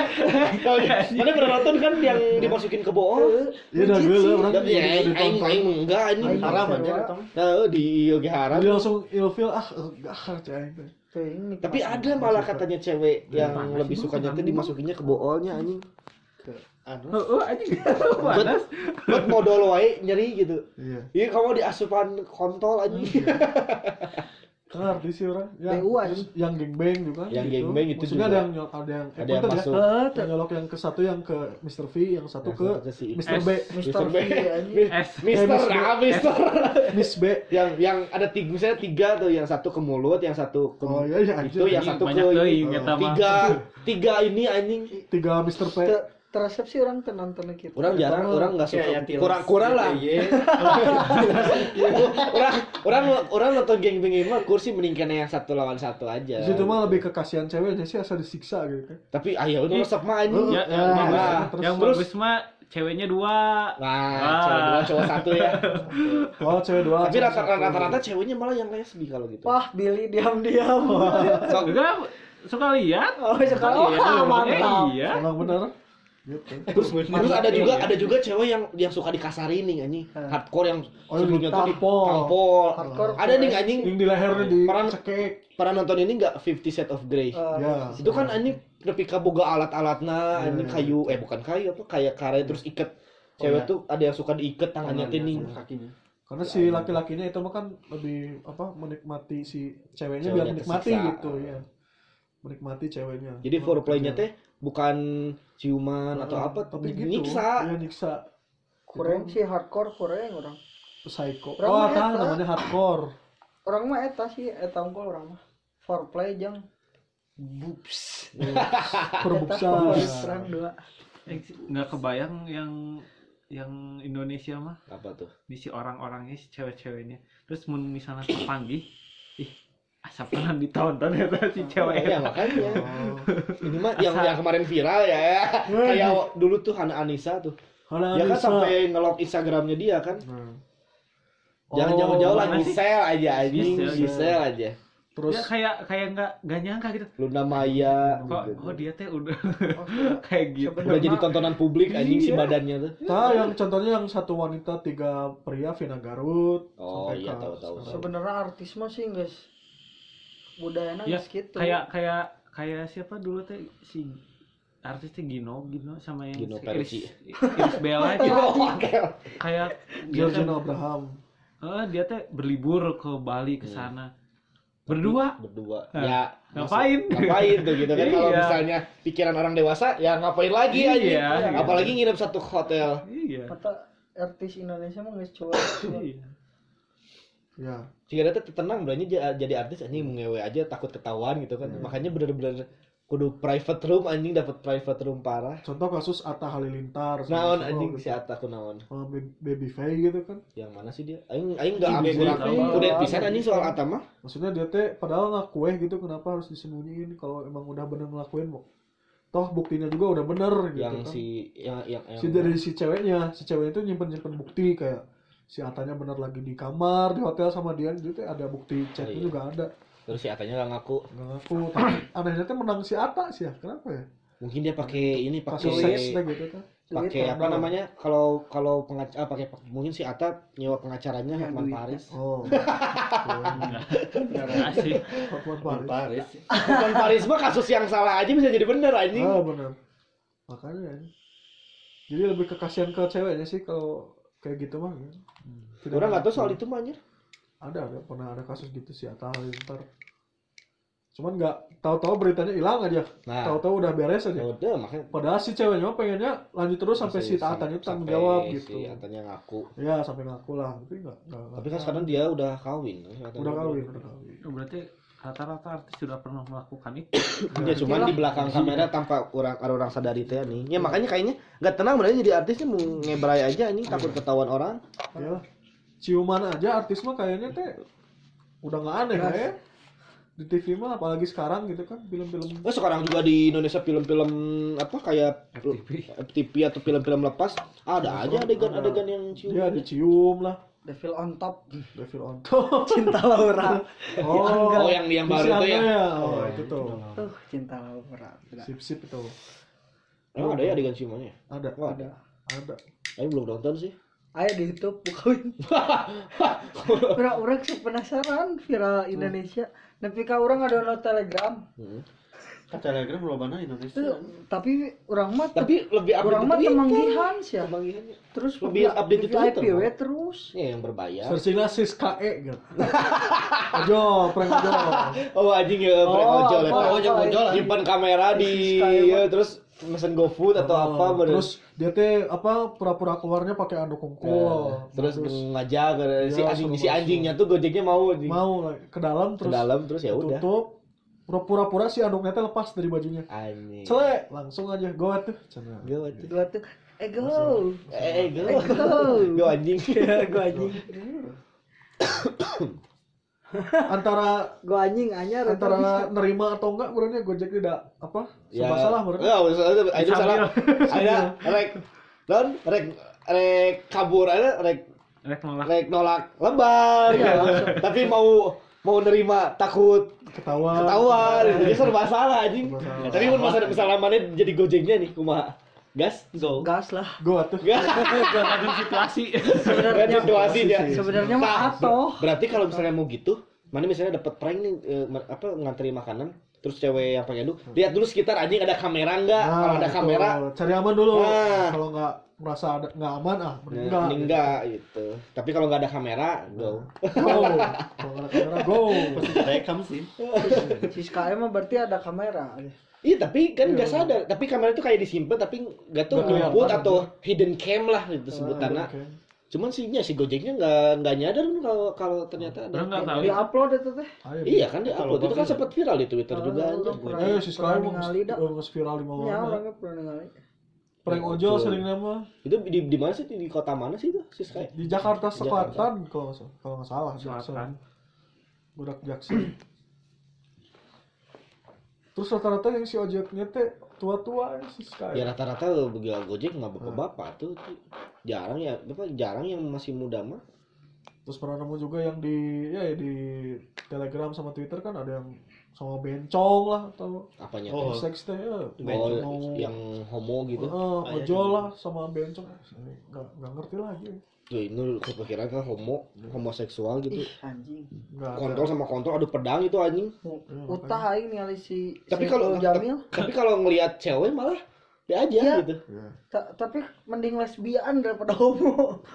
[SPEAKER 2] mana pernah nonton kan yang dimasukin ke bool
[SPEAKER 1] Iya dah gele orang.
[SPEAKER 2] tapi
[SPEAKER 1] jadi
[SPEAKER 2] ya aing aing
[SPEAKER 1] ditonton.
[SPEAKER 2] aing enggak anjing
[SPEAKER 3] Aing
[SPEAKER 2] haram
[SPEAKER 3] sewa.
[SPEAKER 2] anjing Nah, di yoga haram
[SPEAKER 1] Jadi langsung ilfil ah gahar cai.
[SPEAKER 3] Tuh, ini
[SPEAKER 2] tapi
[SPEAKER 3] pas-
[SPEAKER 2] ada malah katanya cewek yang lebih sukanya tuh dimasukinnya ke boolnya anjing
[SPEAKER 6] Heeh, anjing. Panas.
[SPEAKER 2] buat modal wae nyeri gitu
[SPEAKER 1] Iya.
[SPEAKER 2] Iya kamu di asupan kontol anjing
[SPEAKER 1] Kan artis sih orang. Ya,
[SPEAKER 3] BU anjing.
[SPEAKER 1] yang gengbang juga.
[SPEAKER 2] Yang
[SPEAKER 1] gitu.
[SPEAKER 2] gengbang itu
[SPEAKER 1] Maksudnya
[SPEAKER 2] juga.
[SPEAKER 1] ada yang nyolok ada yang eh,
[SPEAKER 2] ada yang
[SPEAKER 1] punten ya.
[SPEAKER 2] masuk
[SPEAKER 3] Eh,
[SPEAKER 1] Yang nyolok yang ke satu yang ke Mr. V, yang satu ke
[SPEAKER 2] ke si
[SPEAKER 1] Mr.
[SPEAKER 6] S.
[SPEAKER 1] B,
[SPEAKER 3] Mr. V anjing
[SPEAKER 6] S.
[SPEAKER 2] Mister,
[SPEAKER 1] Mister. Eh.
[SPEAKER 2] ah, Mister.
[SPEAKER 1] Miss B.
[SPEAKER 2] yang yang ada tiga misalnya tiga tuh yang satu ke mulut yang satu ke
[SPEAKER 1] Oh iya ya anjir.
[SPEAKER 2] itu yang satu ke
[SPEAKER 6] Banyak deui,
[SPEAKER 1] iya,
[SPEAKER 6] eta mah.
[SPEAKER 2] tiga tiga ini anjing
[SPEAKER 1] Tiga Mr. P.
[SPEAKER 3] Te- teresep sih orang teh nontonnya gitu
[SPEAKER 2] orang
[SPEAKER 1] Iya,
[SPEAKER 2] jarang orang nggak suka kurang kurang lah orang orang orang nonton geng bengin mah kursi meningkatnya yang satu lawan satu aja
[SPEAKER 1] Di situ mah lebih ke kasihan ceweknya sih asal disiksa gitu kan.
[SPEAKER 2] tapi ayo udah resep mah anjing
[SPEAKER 6] Ya, yang
[SPEAKER 1] Ah,
[SPEAKER 6] bagus,
[SPEAKER 2] nah,
[SPEAKER 6] yang
[SPEAKER 2] terus-
[SPEAKER 6] bagus mah ceweknya dua.
[SPEAKER 1] iya.
[SPEAKER 2] nah
[SPEAKER 6] Ah.
[SPEAKER 2] cewek dua cowok satu ya
[SPEAKER 1] Oh, cewek dua.
[SPEAKER 2] tapi
[SPEAKER 1] cewek
[SPEAKER 2] rata-
[SPEAKER 1] satu.
[SPEAKER 2] rata-rata ceweknya malah yang lesbi kalau gitu
[SPEAKER 3] wah Billy diam-diam
[SPEAKER 2] So-
[SPEAKER 6] Enggak suka lihat.
[SPEAKER 3] oh
[SPEAKER 6] Iya,
[SPEAKER 3] sekarang wah
[SPEAKER 6] eh,
[SPEAKER 3] mantap
[SPEAKER 6] Iya.
[SPEAKER 1] Emang bener. Gitu.
[SPEAKER 2] terus, terus ada juga ada juga cewek yang yang suka dikasarin nih anjing hardcore yang
[SPEAKER 1] Oh, yang
[SPEAKER 2] sebelumnya tuh di-
[SPEAKER 1] ditampol.
[SPEAKER 2] tampol.
[SPEAKER 3] Hardcore.
[SPEAKER 2] ada nih anjing
[SPEAKER 1] Yang di lehernya di
[SPEAKER 2] Peran-
[SPEAKER 1] cekek.
[SPEAKER 2] pernah nonton ini nggak Fifty Shades of Grey
[SPEAKER 3] Eh,
[SPEAKER 1] Ya.
[SPEAKER 2] itu kan anjing lebih ka boga
[SPEAKER 1] Iya,
[SPEAKER 2] alat-alatna anjing kayu eh bukan kayu apa kayak karet terus iket
[SPEAKER 1] Oh,
[SPEAKER 2] cewek
[SPEAKER 1] iya.
[SPEAKER 2] tuh ada yang suka diiket tangannya tening
[SPEAKER 7] kakinya
[SPEAKER 1] Karena si laki-lakinya itu mah kan lebih apa menikmati si ceweknya, biar
[SPEAKER 2] Ceweknya
[SPEAKER 1] menikmati
[SPEAKER 2] tersiksa.
[SPEAKER 1] gitu ya. Menikmati ceweknya.
[SPEAKER 2] jadi foreplaynya teh bukan ciuman atau apa
[SPEAKER 1] tapi
[SPEAKER 2] tapi
[SPEAKER 1] gitu.
[SPEAKER 2] nyiksa
[SPEAKER 1] Iya, nyiksa.
[SPEAKER 3] kurang sih hardcore kurang orang
[SPEAKER 1] Psycho.
[SPEAKER 3] Orang
[SPEAKER 1] Oh,
[SPEAKER 3] mah
[SPEAKER 1] tah
[SPEAKER 3] eta.
[SPEAKER 1] namanya hardcore.
[SPEAKER 3] orang mah eta sih eta unggul orang mah foreplay jeung Bups.
[SPEAKER 1] Perbuksan.
[SPEAKER 3] Perang dua.
[SPEAKER 6] nggak kebayang yang yang Indonesia mah
[SPEAKER 2] Apa tuh?
[SPEAKER 6] di si orang-orangnya si cewek-ceweknya terus mun misalnya terpanggih ih asapan ditonton ya si
[SPEAKER 2] Makanya,
[SPEAKER 6] cewek eta.
[SPEAKER 2] Iya, makanya. Ini mah yang yang kemarin viral ya.
[SPEAKER 6] Hmm.
[SPEAKER 2] Kayak dulu tuh Hana Anissa tuh. Dia kan sampai ngelok Instagramnya dia kan. Jangan jauh-jauh
[SPEAKER 6] Oh, mana
[SPEAKER 2] lagi
[SPEAKER 6] sih?
[SPEAKER 2] sel aja anjing,
[SPEAKER 6] Gisel,
[SPEAKER 2] Gisel aja.
[SPEAKER 1] Oh, Terus
[SPEAKER 6] ya kayak kayak nggak nggak nyangka gitu
[SPEAKER 2] Luna Maya. Gitu.
[SPEAKER 6] kok oh dia teh udah kayak gitu
[SPEAKER 2] Udah jadi tontonan publik anjing
[SPEAKER 6] Iya.
[SPEAKER 2] si badannya tuh.
[SPEAKER 1] Nah, yang contohnya yang satu wanita tiga pria Vina Garut.
[SPEAKER 2] Oh
[SPEAKER 1] sampai
[SPEAKER 2] iya
[SPEAKER 1] ke-
[SPEAKER 2] tahu tahu. tahu.
[SPEAKER 3] Sebenarnya artis mah sih guys. Budayana
[SPEAKER 6] Ya,
[SPEAKER 3] geus gitu.
[SPEAKER 6] kayak kayak kayak siapa dulu teh si artisnya Gino Gino sama yang
[SPEAKER 2] Gino
[SPEAKER 6] si
[SPEAKER 2] Perci.
[SPEAKER 6] Iris, Iris Bella itu kayak dia
[SPEAKER 2] Iya, kan?
[SPEAKER 6] teh,
[SPEAKER 1] Giorgio Abraham.
[SPEAKER 6] eh, dia teh berlibur ke Bali
[SPEAKER 2] Hmm.
[SPEAKER 6] ke sana berdua
[SPEAKER 2] berdua
[SPEAKER 6] Hah.
[SPEAKER 2] ya
[SPEAKER 6] Ngapain?
[SPEAKER 2] maksud- ngapain tuh gitu kan kalau
[SPEAKER 6] Iya.
[SPEAKER 2] misalnya pikiran orang dewasa ya ngapain lagi
[SPEAKER 6] Iya,
[SPEAKER 2] anjing.
[SPEAKER 6] iya.
[SPEAKER 2] apalagi nginep satu hotel
[SPEAKER 6] iya
[SPEAKER 3] kata artis Indonesia mah geus cowok.
[SPEAKER 6] Iya.
[SPEAKER 1] Ya.
[SPEAKER 2] sehingga dia tuh tenang berani ja- jadi artis anjing mengewe aja takut ketahuan gitu kan
[SPEAKER 6] Iya.
[SPEAKER 2] makanya bener-bener kudu private room anjing dapat private room parah
[SPEAKER 1] Contoh kasus Atta Halilintar. sama
[SPEAKER 2] naon
[SPEAKER 1] siapa
[SPEAKER 2] Nah, anjing
[SPEAKER 1] gitu.
[SPEAKER 2] si Atta kunaon
[SPEAKER 1] Sama Baby- Babyface gitu kan.
[SPEAKER 2] yang mana sih dia aing aing enggak
[SPEAKER 1] Ih,
[SPEAKER 2] ambil
[SPEAKER 1] Baby
[SPEAKER 6] Faye.
[SPEAKER 2] kudet pisan anjing soal Atta mah
[SPEAKER 1] Maksudnya dia teh padahal ngakueh gitu kenapa harus disembunyiin kalau emang udah bener ngelakuin kok. Toh buktinya juga udah bener gitu
[SPEAKER 2] yang
[SPEAKER 1] kan.
[SPEAKER 2] si yang yang yang
[SPEAKER 1] si dari si ceweknya, si ceweknya itu nyimpen nyimpen bukti kayak si Atanya bener lagi di kamar di hotel sama dia itu teh ada bukti chat
[SPEAKER 2] iya.
[SPEAKER 1] itu juga ada
[SPEAKER 2] terus si Atanya nggak ngaku
[SPEAKER 1] nggak ngaku tapi anehnya teh menang si Ata sih ya kenapa ya
[SPEAKER 2] mungkin dia pakai ini
[SPEAKER 1] kasus
[SPEAKER 2] pakai
[SPEAKER 1] seks teh gitu kan
[SPEAKER 2] pakai
[SPEAKER 1] Duit,
[SPEAKER 2] apa
[SPEAKER 1] kan?
[SPEAKER 2] namanya kalau kalau pengacara pakai mungkin si Ata nyewa pengacaranya Hotman Paris
[SPEAKER 1] oh
[SPEAKER 6] Nggak sih
[SPEAKER 1] Hotman Paris
[SPEAKER 7] Paris.
[SPEAKER 2] Hotman Paris mah kasus yang salah aja bisa jadi bener anjing
[SPEAKER 1] ah benar makanya ini. jadi lebih ke kasihan ke ceweknya sih kalau kayak gitu mah ya. Tidak
[SPEAKER 2] orang nggak tahu
[SPEAKER 1] ngaku.
[SPEAKER 2] soal itu mah anjir
[SPEAKER 1] ada ada pernah ada kasus gitu si Atta Halilintar cuman nggak tahu-tahu beritanya hilang aja
[SPEAKER 2] nah
[SPEAKER 1] tahu-tahu udah beres
[SPEAKER 2] ya
[SPEAKER 1] aja
[SPEAKER 2] udah makanya
[SPEAKER 1] Padahal si ceweknya mah pengennya lanjut terus sampai si Tatan itu tanggung
[SPEAKER 2] sampai
[SPEAKER 1] jawab gitu.
[SPEAKER 2] si Atanya ngaku
[SPEAKER 1] Ya sampai ngaku lah, tapi nggak nggak.
[SPEAKER 2] tapi kan sekarang dia udah kawin si Ata
[SPEAKER 1] udah
[SPEAKER 2] juga.
[SPEAKER 1] kawin, udah kawin.
[SPEAKER 6] Oh, berarti rata-rata artis sudah pernah melakukan itu
[SPEAKER 2] ya cuman di belakang kamera tanpa orang orang sadari teh nih ya makanya kayaknya nggak tenang berarti jadi artisnya mau ngebrai aja anjing takut ketahuan orang
[SPEAKER 1] Ya ciuman aja artis mah kayaknya teh udah nggak aneh lah ya. Di TV mah apalagi sekarang gitu kan film-film
[SPEAKER 2] Eh, sekarang juga di Indonesia film-film apa kayak
[SPEAKER 6] FTP.
[SPEAKER 2] FTP atau film-film lepas ada aja adegan-adegan yang cium.
[SPEAKER 1] dia dicium lah,
[SPEAKER 3] Devil on top.
[SPEAKER 1] Devil on top.
[SPEAKER 3] Cinta Laura.
[SPEAKER 1] Oh,
[SPEAKER 2] Oh yang yang
[SPEAKER 1] si
[SPEAKER 2] baru
[SPEAKER 1] Angga
[SPEAKER 2] tuh ya.
[SPEAKER 1] ya. Oh, itu tuh.
[SPEAKER 3] Tuh, cinta Laura.
[SPEAKER 1] Sip-sip itu.
[SPEAKER 2] Emang ada ya adegan ciumannya?
[SPEAKER 1] Ada,
[SPEAKER 2] Oh,
[SPEAKER 1] ada. Ada.
[SPEAKER 2] Ayo belum nonton sih.
[SPEAKER 3] Ayo di YouTube bukain. Orang-orang sih penasaran viral Indonesia. Tapi kau orang ada download Telegram.
[SPEAKER 2] Hmm.
[SPEAKER 7] Kan Telegram belum mana Indonesia.
[SPEAKER 3] Tuh, tapi orang mah tapi
[SPEAKER 2] Tapi lebih update
[SPEAKER 3] orang mah
[SPEAKER 2] di Twitter.
[SPEAKER 3] temanggihan sih. ya.
[SPEAKER 2] Temanggihan.
[SPEAKER 3] Terus
[SPEAKER 2] Lebih
[SPEAKER 3] buka-
[SPEAKER 2] update di
[SPEAKER 3] buka
[SPEAKER 2] Twitter,
[SPEAKER 3] IPW
[SPEAKER 2] Bang.
[SPEAKER 3] terus.
[SPEAKER 2] Ya yang berbayar.
[SPEAKER 1] Searchingnya sis KE gitu. Ojo, prank ojo.
[SPEAKER 2] Oh anjing ya prank
[SPEAKER 3] Oh,
[SPEAKER 2] ojol ya.
[SPEAKER 3] apa,
[SPEAKER 2] Prank
[SPEAKER 3] apa,
[SPEAKER 2] ojol, ojol.
[SPEAKER 3] apa.
[SPEAKER 2] Nyimpan kamera di ya, terus mesen GoFood atau
[SPEAKER 1] Oh,
[SPEAKER 2] apa bener.
[SPEAKER 1] terus dia teh apa pura-pura keluarnya pakai anduk
[SPEAKER 2] Eh,
[SPEAKER 1] kungkul
[SPEAKER 2] terus ngajak eh, si
[SPEAKER 1] Ya,
[SPEAKER 2] anjing
[SPEAKER 1] suruh
[SPEAKER 2] si
[SPEAKER 1] masuk.
[SPEAKER 2] anjingnya tuh Gojeknya mau anjing.
[SPEAKER 1] mau lah, ke dalam
[SPEAKER 2] ke
[SPEAKER 1] terus
[SPEAKER 2] dalam terus ya udah.
[SPEAKER 1] tutup pura-pura si anduknya teh lepas dari bajunya
[SPEAKER 2] Anjing.
[SPEAKER 1] celek langsung aja goat tuh Cina.
[SPEAKER 2] Gawat.
[SPEAKER 1] gitu.
[SPEAKER 3] Dua tuh. Eh go.
[SPEAKER 2] Eh, eh, go.
[SPEAKER 3] Eh, go.
[SPEAKER 2] Go anjing.
[SPEAKER 1] Iya,
[SPEAKER 3] Go anjing.
[SPEAKER 1] antara
[SPEAKER 3] Go anjing anyar atau bisa.
[SPEAKER 1] antara nerima atau enggak berarti gojek tidak apa
[SPEAKER 2] Ya.
[SPEAKER 1] serba salah berarti
[SPEAKER 2] Enggak, salah. Ada salah. Ada rek dan rek rek kabur ada rek
[SPEAKER 6] rek nolak
[SPEAKER 2] rek nolak lebar
[SPEAKER 1] Iya,
[SPEAKER 2] gitu. Tapi mau mau nerima takut
[SPEAKER 1] ketawa
[SPEAKER 2] ketahuan gitu. Dia serba salah anjing.
[SPEAKER 1] Oh, iya, Serba salah.
[SPEAKER 2] Tapi mun masa misalnya mana jadi gojeknya nih kumaha? Gas go.
[SPEAKER 3] gas lah.
[SPEAKER 1] goat tuh
[SPEAKER 2] Gas.
[SPEAKER 6] tergantung situasi
[SPEAKER 2] Kan
[SPEAKER 3] Sebenarnya
[SPEAKER 2] situasi dia.
[SPEAKER 3] sebenarnya mah
[SPEAKER 2] Nah,
[SPEAKER 3] atoh.
[SPEAKER 2] Berarti kalau misalnya mau gitu, mana misalnya dapat prank nih eh, ma- apa ngantri makanan terus cewek yang pakai lu lihat dulu sekitar anjing ada kamera enggak
[SPEAKER 1] Nah,
[SPEAKER 2] kalau ada
[SPEAKER 1] gitu.
[SPEAKER 2] kamera
[SPEAKER 1] cari aman dulu
[SPEAKER 2] Nah.
[SPEAKER 1] kalau enggak merasa ada enggak aman ah mending
[SPEAKER 2] Nah,
[SPEAKER 1] enggak
[SPEAKER 2] mending enggak gitu. Nah. Tapi kalau nggak ada kamera, go.
[SPEAKER 1] go kalau enggak ada kamera go
[SPEAKER 7] Pasti direkam sih.
[SPEAKER 3] Si SKM mah berarti ada kamera.
[SPEAKER 2] Iya, tapi kan nggak sadar. Tapi kamera itu kayak disimpan, tapi nggak Nah, tahu
[SPEAKER 1] Nggak
[SPEAKER 2] nyumput
[SPEAKER 1] kelihatan.
[SPEAKER 2] atau hidden cam lah itu gitu sebutannya.
[SPEAKER 1] Oke.
[SPEAKER 2] Cuman sih nya si Gojeknya nggak nggak nyadar kan kalau kalau ternyata ada.
[SPEAKER 6] Orang nggak tahu.
[SPEAKER 2] Ya
[SPEAKER 6] ya.
[SPEAKER 3] Di upload itu teh.
[SPEAKER 2] Iya kan dia
[SPEAKER 7] Kalau
[SPEAKER 2] upload itu kan
[SPEAKER 7] bagus,
[SPEAKER 2] sempat viral di Twitter
[SPEAKER 3] Kalau
[SPEAKER 2] juga
[SPEAKER 3] orang
[SPEAKER 2] anjing.
[SPEAKER 3] pernah-
[SPEAKER 1] Eh, si
[SPEAKER 3] pernah
[SPEAKER 1] sekarang mah
[SPEAKER 3] ningali dah.
[SPEAKER 1] nges viral di
[SPEAKER 3] Ya,
[SPEAKER 1] mana?
[SPEAKER 3] orangnya pernah ningali.
[SPEAKER 1] Prank ojol
[SPEAKER 2] Iya, Betul.
[SPEAKER 1] sering nama.
[SPEAKER 2] Itu di, di mana sih di, di kota mana sih itu si Sky?
[SPEAKER 1] Di Jakarta
[SPEAKER 2] Di
[SPEAKER 1] Selatan kalau nggak salah. Kalau nggak salah,
[SPEAKER 6] Selatan.
[SPEAKER 1] Jackson. Budak Jackson. Terus rata-rata yang si ojeknya teh tua-tua ya, si Sky.
[SPEAKER 2] Ya rata-rata begal Gojek nggak bapak-bapak tuh jarang ya, apa jarang yang masih muda mah.
[SPEAKER 1] Terus pernah nemu juga yang di ya di Telegram sama Twitter kan ada yang sama bencong lah atau
[SPEAKER 2] Apanya? Oh,
[SPEAKER 7] Oh,
[SPEAKER 1] seks teh ya.
[SPEAKER 2] oh yang homo gitu.
[SPEAKER 1] Eh,
[SPEAKER 7] Ah, ya,
[SPEAKER 1] ojol
[SPEAKER 7] gitu.
[SPEAKER 1] lah sama bencong. Ini Nggak nggak ngerti lagi.
[SPEAKER 2] Tuh ini kepikiran kan homo, homoseksual gitu.
[SPEAKER 3] Ih, anjing.
[SPEAKER 1] Nggak ada.
[SPEAKER 2] Kontrol sama kontrol aduh pedang itu anjing.
[SPEAKER 1] Ya,
[SPEAKER 3] Utah aing ningali si
[SPEAKER 2] Tapi
[SPEAKER 3] si
[SPEAKER 2] kalau
[SPEAKER 3] Saiful Jamil,
[SPEAKER 2] tapi kalau ngelihat cewek malah dia aja
[SPEAKER 3] Iya.
[SPEAKER 2] gitu.
[SPEAKER 3] ta- tapi mending lesbian daripada homo.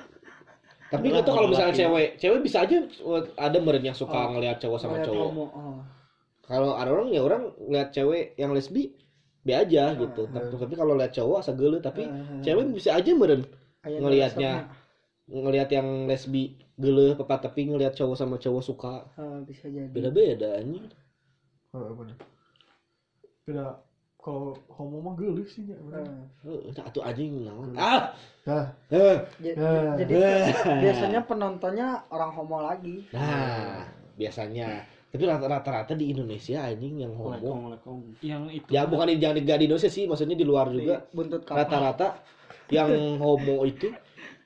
[SPEAKER 2] Tapi nggak tahu kalau misalnya cewek, cewek bisa aja uh, ada meren yang suka
[SPEAKER 3] Oh.
[SPEAKER 2] ngelihat cowok sama
[SPEAKER 3] Ngeliat
[SPEAKER 2] cowok.
[SPEAKER 3] homo, oh.
[SPEAKER 2] Kalau ada orang ya orang ngelihat cewek yang lesbi be aja gitu. Tapi, tapi kalau lihat cowok asa geuleuh, tapi
[SPEAKER 3] Eh,
[SPEAKER 2] cewek bisa aja meren
[SPEAKER 3] aya
[SPEAKER 2] ngelihatnya.
[SPEAKER 3] dasarnya.
[SPEAKER 2] ngelihat yang lesbi geuleuh papa tapi ngelihat cowok sama cowok suka
[SPEAKER 3] Eh, bisa jadi.
[SPEAKER 2] beda-beda anjing.
[SPEAKER 1] Heeh, Eh, bener. Beda kalau homo mah geulis sih ya. bener.
[SPEAKER 3] Eh,
[SPEAKER 2] Heuh, tah atuh anjing naon. Ah.
[SPEAKER 1] Nah,
[SPEAKER 2] heuh.
[SPEAKER 3] ja-
[SPEAKER 1] Eh.
[SPEAKER 3] jadi biasanya penontonnya orang homo lagi.
[SPEAKER 2] Nah, biasanya. Tapi rata- rata-rata di Indonesia anjing yang homo.
[SPEAKER 7] Assalamualaikum.
[SPEAKER 6] Yang itu.
[SPEAKER 2] Ya bukan di jangan di, nggak di Indonesia sih, maksudnya di luar juga
[SPEAKER 3] Iya, buntut kapal.
[SPEAKER 2] rata-rata yang homo itu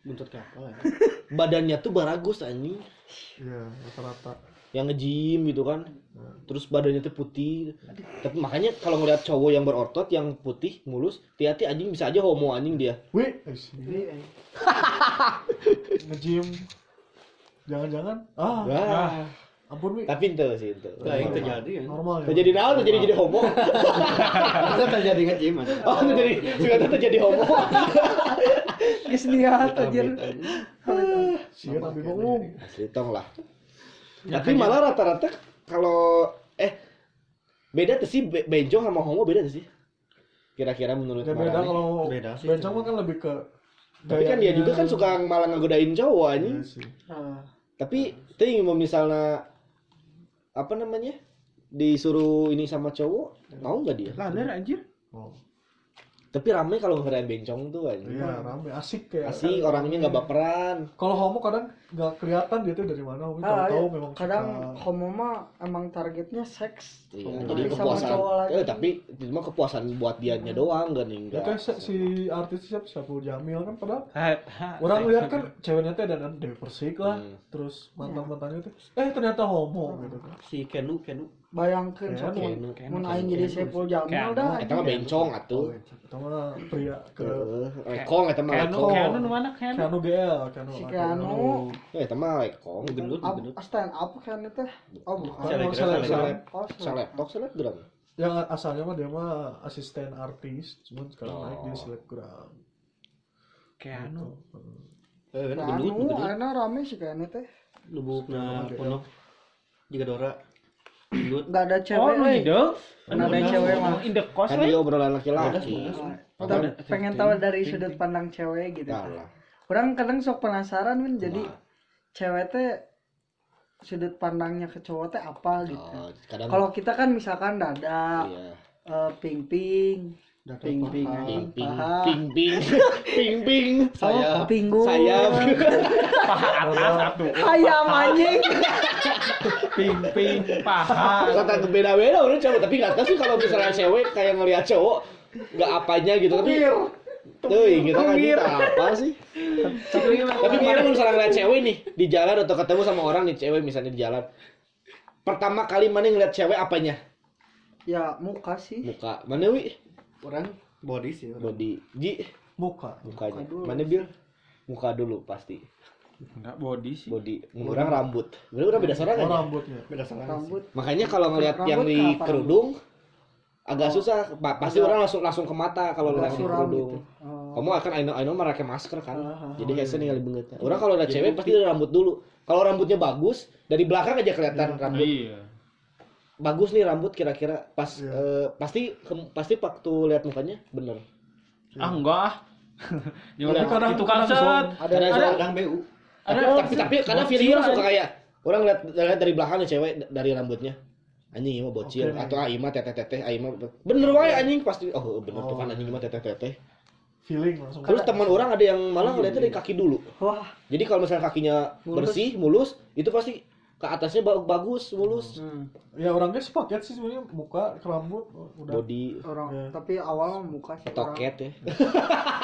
[SPEAKER 7] Buntut kapal.
[SPEAKER 2] badannya tuh baragus anjing,
[SPEAKER 1] iya rata-rata.
[SPEAKER 2] yang nge-gym gitu kan. Terus badannya tuh putih. Tapi makanya kalau ngeliat cowok yang berotot, yang putih, mulus, hati-hati anjing bisa aja homo anjing dia.
[SPEAKER 1] Wih, eh, sih.
[SPEAKER 3] Jadi, eh,
[SPEAKER 1] nge-gym. Jangan-jangan. Ah,
[SPEAKER 2] Wah.
[SPEAKER 1] ampun Wi.
[SPEAKER 2] Tapi itu sih itu.
[SPEAKER 7] Nah, yang terjadi ya.
[SPEAKER 1] Normal ya.
[SPEAKER 2] Terjadi naon terjadi jadi homo.
[SPEAKER 7] Kita terjadi kan Jim. ada.
[SPEAKER 2] Oh, terjadi suka terjadi homo.
[SPEAKER 3] geus
[SPEAKER 6] Eh.
[SPEAKER 3] niat anjir.
[SPEAKER 7] Amit-amit aja.
[SPEAKER 3] Eh,
[SPEAKER 1] Sieun abi ngomong.
[SPEAKER 2] Asli tong lah.
[SPEAKER 6] Ya,
[SPEAKER 2] Tapi
[SPEAKER 6] kayaknya-
[SPEAKER 2] malah rata-rata kalau eh beda tuh sih be- bencong sama homo beda tuh sih. Kira-kira menurut
[SPEAKER 1] Ya beda
[SPEAKER 2] Marani.
[SPEAKER 1] kalau
[SPEAKER 7] Beda sih.
[SPEAKER 1] bencong mah kan lebih ke
[SPEAKER 2] Tapi kan dia
[SPEAKER 1] gayanya.
[SPEAKER 2] juga kan suka malah ngegodain cowok anjing.
[SPEAKER 1] Iya sih.
[SPEAKER 3] Eh,
[SPEAKER 2] Tapi ting mau misalnya apa namanya? disuruh ini sama cowok mau nggak dia?
[SPEAKER 6] Laler anjir.
[SPEAKER 1] Oh,
[SPEAKER 2] Tapi rame kalau ngerayain bencong tuh anjing.
[SPEAKER 1] Iya, rame asik kayak.
[SPEAKER 2] Asli orangnya nggak baperan.
[SPEAKER 1] Kalau homo kadang nggak kelihatan dia tuh dari mana, Wi.
[SPEAKER 3] ah,
[SPEAKER 1] Tahu-tahu
[SPEAKER 3] iya.
[SPEAKER 1] memang
[SPEAKER 3] kadang
[SPEAKER 1] suka.
[SPEAKER 3] homo mah emang targetnya seks.
[SPEAKER 2] Iya,
[SPEAKER 7] Oh,
[SPEAKER 2] jadi
[SPEAKER 3] tapi sama
[SPEAKER 2] kepuasan.
[SPEAKER 3] cowok lagi.
[SPEAKER 2] Eh, tapi itu mah kepuasan buat dianya doang gak nih
[SPEAKER 1] Ya
[SPEAKER 2] enggak.
[SPEAKER 1] kayak si- si artis siapa Saiful Jamil kan padahal
[SPEAKER 6] Orang
[SPEAKER 1] orang lihat kan ceweknya teh ada kan Dewi Persik lah
[SPEAKER 2] Ah, iya. Hmm.
[SPEAKER 3] Iya.
[SPEAKER 1] terus mantan mantannya tuh eh ternyata homo gitu kan
[SPEAKER 7] Si Kenu Kenu.
[SPEAKER 3] Bayangkeun
[SPEAKER 1] Iya,
[SPEAKER 3] sok
[SPEAKER 1] iya.
[SPEAKER 3] mun-
[SPEAKER 6] Kayak
[SPEAKER 3] mun
[SPEAKER 6] anu,
[SPEAKER 3] aing jadi Saiful
[SPEAKER 6] Kayak
[SPEAKER 3] Jamil
[SPEAKER 6] anu,
[SPEAKER 3] dah.
[SPEAKER 2] Eta mah bencong atuh.
[SPEAKER 1] Oh, iya. sama pria ke
[SPEAKER 2] Heeh, lekong eta mah
[SPEAKER 6] Keanu,
[SPEAKER 2] lekong.
[SPEAKER 6] Keanu nu mana
[SPEAKER 2] Iya.
[SPEAKER 6] Keanu?
[SPEAKER 1] Keanu GL Keanu
[SPEAKER 3] Si
[SPEAKER 1] Keanu
[SPEAKER 3] Keanu
[SPEAKER 2] Eh, Eta mah lekong.
[SPEAKER 7] Gendut
[SPEAKER 3] Up,
[SPEAKER 7] gendut.
[SPEAKER 3] stand up kan itu? Oh, bukan.
[SPEAKER 1] Seleb-
[SPEAKER 7] Selebgram,
[SPEAKER 1] seleb-
[SPEAKER 3] Oh,
[SPEAKER 2] Selebtok, selebgram.
[SPEAKER 1] yang Ya, asalnya mah dia mah asisten artis cuman sekarang
[SPEAKER 2] Oh.
[SPEAKER 1] naik di selebgram gitu.
[SPEAKER 3] Ya, anu.
[SPEAKER 1] Hmm.
[SPEAKER 6] Keanu.
[SPEAKER 7] Eh, kan
[SPEAKER 3] Nah,
[SPEAKER 7] gendut
[SPEAKER 3] anu,
[SPEAKER 7] gendut.
[SPEAKER 3] ayeuna rame sih kan teh.
[SPEAKER 7] Lubukna ponok. Jika Dora. Gendut.
[SPEAKER 3] Enggak ada
[SPEAKER 6] Oh,
[SPEAKER 3] cewek.
[SPEAKER 6] nu
[SPEAKER 3] euy.
[SPEAKER 6] hideung.
[SPEAKER 3] Anu ada cewek mah.
[SPEAKER 6] In the cost
[SPEAKER 2] Kan
[SPEAKER 6] we.
[SPEAKER 2] dia obrolan laki-laki.
[SPEAKER 3] Oh, tapi pengen tahu dari sudut pandang cewek gitu.
[SPEAKER 2] Nah, lah.
[SPEAKER 3] Orang kadang sok penasaran kan jadi cewek teh sudut pandangnya ke cowok teh apa gitu.
[SPEAKER 2] Oh, kadang
[SPEAKER 3] Kalau kita kan misalkan dada,
[SPEAKER 2] iya.
[SPEAKER 3] eh, ping-ping,
[SPEAKER 2] Ping
[SPEAKER 3] ping-ping, anjing,
[SPEAKER 2] ping
[SPEAKER 3] paha,
[SPEAKER 2] ping ping ping ping.
[SPEAKER 3] oh, pinggung,
[SPEAKER 2] Sayap.
[SPEAKER 3] ayam anjing.
[SPEAKER 6] Ping ping paha.
[SPEAKER 2] Kata beda-beda udah cowok tapi nggak tahu sih kalau misalnya cewek kayak ngelihat cowok nggak apanya gitu tapi tuh kita kan kita apa sih tapi kemarin misalnya ngeliat cewek nih di jalan atau ketemu sama orang nih cewek misalnya di jalan pertama kali mana ngeliat cewek apanya
[SPEAKER 3] Ya muka sih.
[SPEAKER 2] muka mana wi
[SPEAKER 7] Orang body sih. orang.
[SPEAKER 2] body ji
[SPEAKER 1] muka
[SPEAKER 2] mukanya
[SPEAKER 3] Muka dulu.
[SPEAKER 2] mana bil muka dulu pasti
[SPEAKER 6] Enggak body sih.
[SPEAKER 2] body orang rambut berarti udah beda seorang
[SPEAKER 1] oh
[SPEAKER 2] aja
[SPEAKER 1] rambutnya
[SPEAKER 7] Beda
[SPEAKER 2] Iya.
[SPEAKER 7] salah.
[SPEAKER 3] Rambut
[SPEAKER 2] Makanya kalau ngelihat
[SPEAKER 3] Rambut
[SPEAKER 2] yang di
[SPEAKER 3] kenapa?
[SPEAKER 2] kerudung agak susah, Pa- pasti orang langsung langsung ke mata kalau
[SPEAKER 3] Agak
[SPEAKER 2] ngelihat yang
[SPEAKER 3] suram
[SPEAKER 2] kerudung.
[SPEAKER 3] gitu. Oh.
[SPEAKER 2] Kamu akan I know I know mah pakai masker kan.
[SPEAKER 3] Ah,
[SPEAKER 2] Jadi hese ningali beungeutnya. Orang kalau ada cewek pasti dari rambut dulu. Kalau rambutnya bagus, dari belakang aja kelihatan rambut.
[SPEAKER 6] Iya.
[SPEAKER 2] Bagus nih rambut kira-kira pas
[SPEAKER 1] Iya.
[SPEAKER 2] eh, pasti ke- pasti waktu lihat mukanya bener.
[SPEAKER 6] Ah enggak ah. Ya
[SPEAKER 1] Tapi
[SPEAKER 6] udah,
[SPEAKER 1] kadang-
[SPEAKER 6] itu kan
[SPEAKER 1] kadang
[SPEAKER 6] set.
[SPEAKER 1] Ada
[SPEAKER 2] Karena
[SPEAKER 7] Ada
[SPEAKER 2] ada,
[SPEAKER 7] orang BU.
[SPEAKER 2] ada, tapi tapi karena
[SPEAKER 6] Bocilan.
[SPEAKER 2] video suka kayak orang lihat lihat dari belakang nih cewek d- dari rambutnya. Anjing Ima bocil
[SPEAKER 1] Oke.
[SPEAKER 2] atau Aima teteh teteh Aima bener wae anjing pasti oh bener tuh kan anjing Ima teteh teteh.
[SPEAKER 1] feeling langsung.
[SPEAKER 2] Terus teman orang ada yang malah ngeliatnya dari kaki dulu.
[SPEAKER 3] Wah,
[SPEAKER 2] Jadi kalau misalnya kakinya
[SPEAKER 3] Mulus.
[SPEAKER 2] bersih, mulus, itu pasti ke atasnya ba- bagus, mulus.
[SPEAKER 3] Hmm.
[SPEAKER 1] Ya orangnya sepaket sih sebenarnya muka, ke rambut, udah.
[SPEAKER 2] Body
[SPEAKER 3] orang
[SPEAKER 1] Ya.
[SPEAKER 3] tapi awal mah muka sih. Hmm. orang.
[SPEAKER 2] toket ya.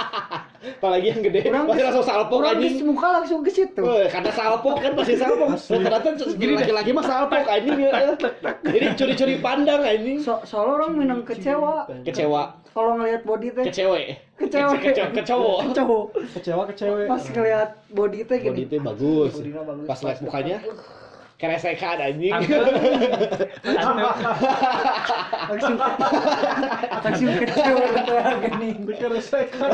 [SPEAKER 2] Apalagi yang gede,
[SPEAKER 3] Orang
[SPEAKER 2] pasti
[SPEAKER 3] kes-
[SPEAKER 2] langsung salpok
[SPEAKER 3] Orang gitu.
[SPEAKER 2] anjing. Oh,
[SPEAKER 3] di muka langsung ke situ.
[SPEAKER 2] Weh, karena salpok kan pasti salpok. Ternyata laki-laki mah salpok anjing. ya. Ini curi-curi pandang anjing.
[SPEAKER 3] So, soalnya orang minang kecewa
[SPEAKER 2] Kecewa,
[SPEAKER 3] kalau ngelihat body teh
[SPEAKER 2] kecewe.
[SPEAKER 3] Kecewe.
[SPEAKER 2] Kece- kecewo.
[SPEAKER 3] kecewa.
[SPEAKER 1] Kecewa ke cewek. Hmm.
[SPEAKER 3] Pas ngelihat body teh
[SPEAKER 2] iya. Body
[SPEAKER 3] gini.
[SPEAKER 2] itu bagus.
[SPEAKER 1] Bodinya bagus.
[SPEAKER 2] Pas lihat mukanya keresekan anjing.
[SPEAKER 3] Langsung langsung kecewa
[SPEAKER 2] Iya.
[SPEAKER 3] teh gini.
[SPEAKER 1] kan.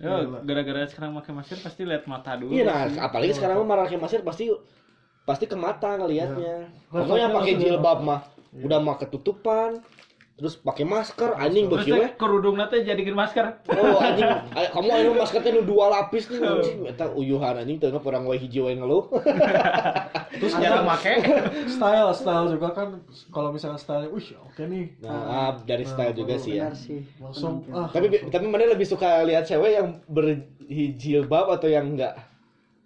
[SPEAKER 6] Ya, gara-gara sekarang pakai masker pasti lihat mata dulu.
[SPEAKER 2] Iya nah, apalagi sekarang mah marahnya masir pasti pasti ke mata ngelihatnya.
[SPEAKER 3] Iya.
[SPEAKER 2] Pokoknya
[SPEAKER 1] Langsung-
[SPEAKER 2] pakai
[SPEAKER 1] langsung-
[SPEAKER 2] jilbab mah udah mah ketutupan. Terus pakai masker anjing
[SPEAKER 6] Terus
[SPEAKER 2] beki we.
[SPEAKER 6] teh kerudung nanti jadikan masker.
[SPEAKER 2] Oh anjing, ay- kamu anu maskernya nu dua lapis
[SPEAKER 3] Iya.
[SPEAKER 2] nih anjing. Eta uyuhan anjing teu perang wae hiji wae ngeluh.
[SPEAKER 6] Terus jarang make.
[SPEAKER 1] Style, style juga kan kalau misalnya style, wih oke nih.
[SPEAKER 2] Nah, ab- dari style juga sih ya.
[SPEAKER 3] Ah. Benar sih.
[SPEAKER 1] Langsung ah.
[SPEAKER 2] Tapi bi- tapi mana lebih suka lihat cewek yang berjilbab atau yang enggak?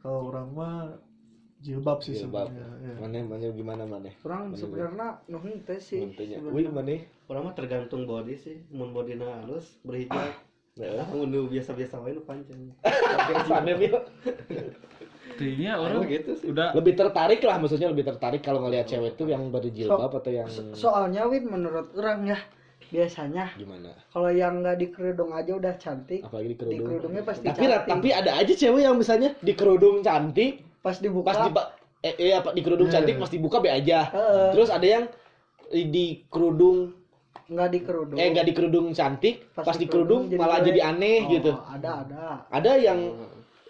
[SPEAKER 1] Kalau orang mah jilbab sih
[SPEAKER 2] Jilbab.
[SPEAKER 1] sebenarnya.
[SPEAKER 3] iya.
[SPEAKER 1] ya.
[SPEAKER 2] Mana mana gimana mana?
[SPEAKER 3] Orang sebenarnya nuhun teh sih.
[SPEAKER 2] Muntahnya.
[SPEAKER 3] sebenarnya.
[SPEAKER 2] Wih mana?
[SPEAKER 7] Orang mah tergantung body sih. Mun bodina halus, berhijab.
[SPEAKER 2] Nah,
[SPEAKER 7] Mun nu biasa-biasa wae nu panjang.
[SPEAKER 2] mana, Bil?
[SPEAKER 6] Tuhnya iya,
[SPEAKER 7] Orang
[SPEAKER 6] orang
[SPEAKER 7] gitu sih.
[SPEAKER 6] udah
[SPEAKER 2] lebih tertarik lah maksudnya lebih tertarik kalau ngelihat cewek tuh yang berjilbab atau yang
[SPEAKER 3] So- Soalnya Win menurut orang ya biasanya
[SPEAKER 2] gimana
[SPEAKER 3] kalau yang nggak di kerudung aja udah cantik.
[SPEAKER 2] apalagi di
[SPEAKER 3] Di
[SPEAKER 2] kerudung
[SPEAKER 3] kerudungnya pasti
[SPEAKER 2] tapi ra-
[SPEAKER 3] cantik.
[SPEAKER 2] tapi ada aja cewek yang misalnya di kerudung cantik
[SPEAKER 3] Pas dibuka.
[SPEAKER 2] pas di eh, eh, apa, di
[SPEAKER 6] Hmm.
[SPEAKER 2] kerudung cantik pas dibuka be aja
[SPEAKER 3] Heeh.
[SPEAKER 2] terus ada yang di di kerudung
[SPEAKER 3] nggak di kerudung.
[SPEAKER 2] eh enggak di kerudung cantik
[SPEAKER 3] Pas
[SPEAKER 2] pas,
[SPEAKER 3] di
[SPEAKER 2] di kerudung
[SPEAKER 3] kerudung jadi
[SPEAKER 2] malah
[SPEAKER 3] jelek.
[SPEAKER 2] jadi aneh
[SPEAKER 3] Oh,
[SPEAKER 2] gitu
[SPEAKER 3] Ada ada.
[SPEAKER 2] ada yang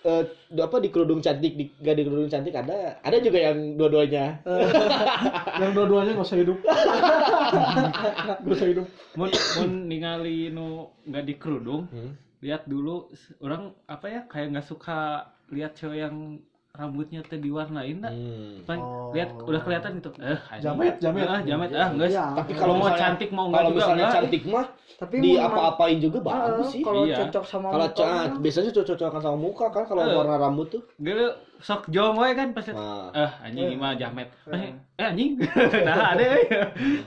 [SPEAKER 2] eh, apa di kerudung cantik di gak di kerudung cantik ada ada juga yang dua-duanya
[SPEAKER 1] Yang dua-duanya nggak usah hidup. Nggak usah hidup.
[SPEAKER 6] mun mun ningali nu nggak di kerudung, lihat dulu s- orang apa ya kayak nggak suka lihat cewek yang rambutnya teh diwarnain lah.
[SPEAKER 2] Hmm.
[SPEAKER 6] Pan-
[SPEAKER 1] Oh.
[SPEAKER 6] lihat udah kelihatan gitu. Eh, anjing.
[SPEAKER 1] Jamet, jamet.
[SPEAKER 6] Ah, jamet. Ah, enggak.
[SPEAKER 3] Iya.
[SPEAKER 2] tapi
[SPEAKER 6] Kalau
[SPEAKER 2] kalau
[SPEAKER 6] mau
[SPEAKER 2] misalnya-
[SPEAKER 6] cantik mau enggak
[SPEAKER 2] kalau
[SPEAKER 6] juga
[SPEAKER 2] misalnya
[SPEAKER 6] enggak.
[SPEAKER 2] cantik mah
[SPEAKER 3] Tapi
[SPEAKER 2] di
[SPEAKER 3] memang-
[SPEAKER 2] apa-apain juga
[SPEAKER 3] Ah,
[SPEAKER 2] bagus sih
[SPEAKER 3] Kalau
[SPEAKER 6] Iya.
[SPEAKER 3] cocok sama
[SPEAKER 2] kalau
[SPEAKER 3] muka
[SPEAKER 2] ca-
[SPEAKER 3] orang.
[SPEAKER 2] biasanya cocok-cocokan sama muka kan kalau
[SPEAKER 6] Eh.
[SPEAKER 2] warna rambut tuh
[SPEAKER 6] Dulu sok jong wae kan pas liat,
[SPEAKER 2] nah,
[SPEAKER 6] eh anjing ini mah jamet. Eh, eh, anjing. Nah, ada euy.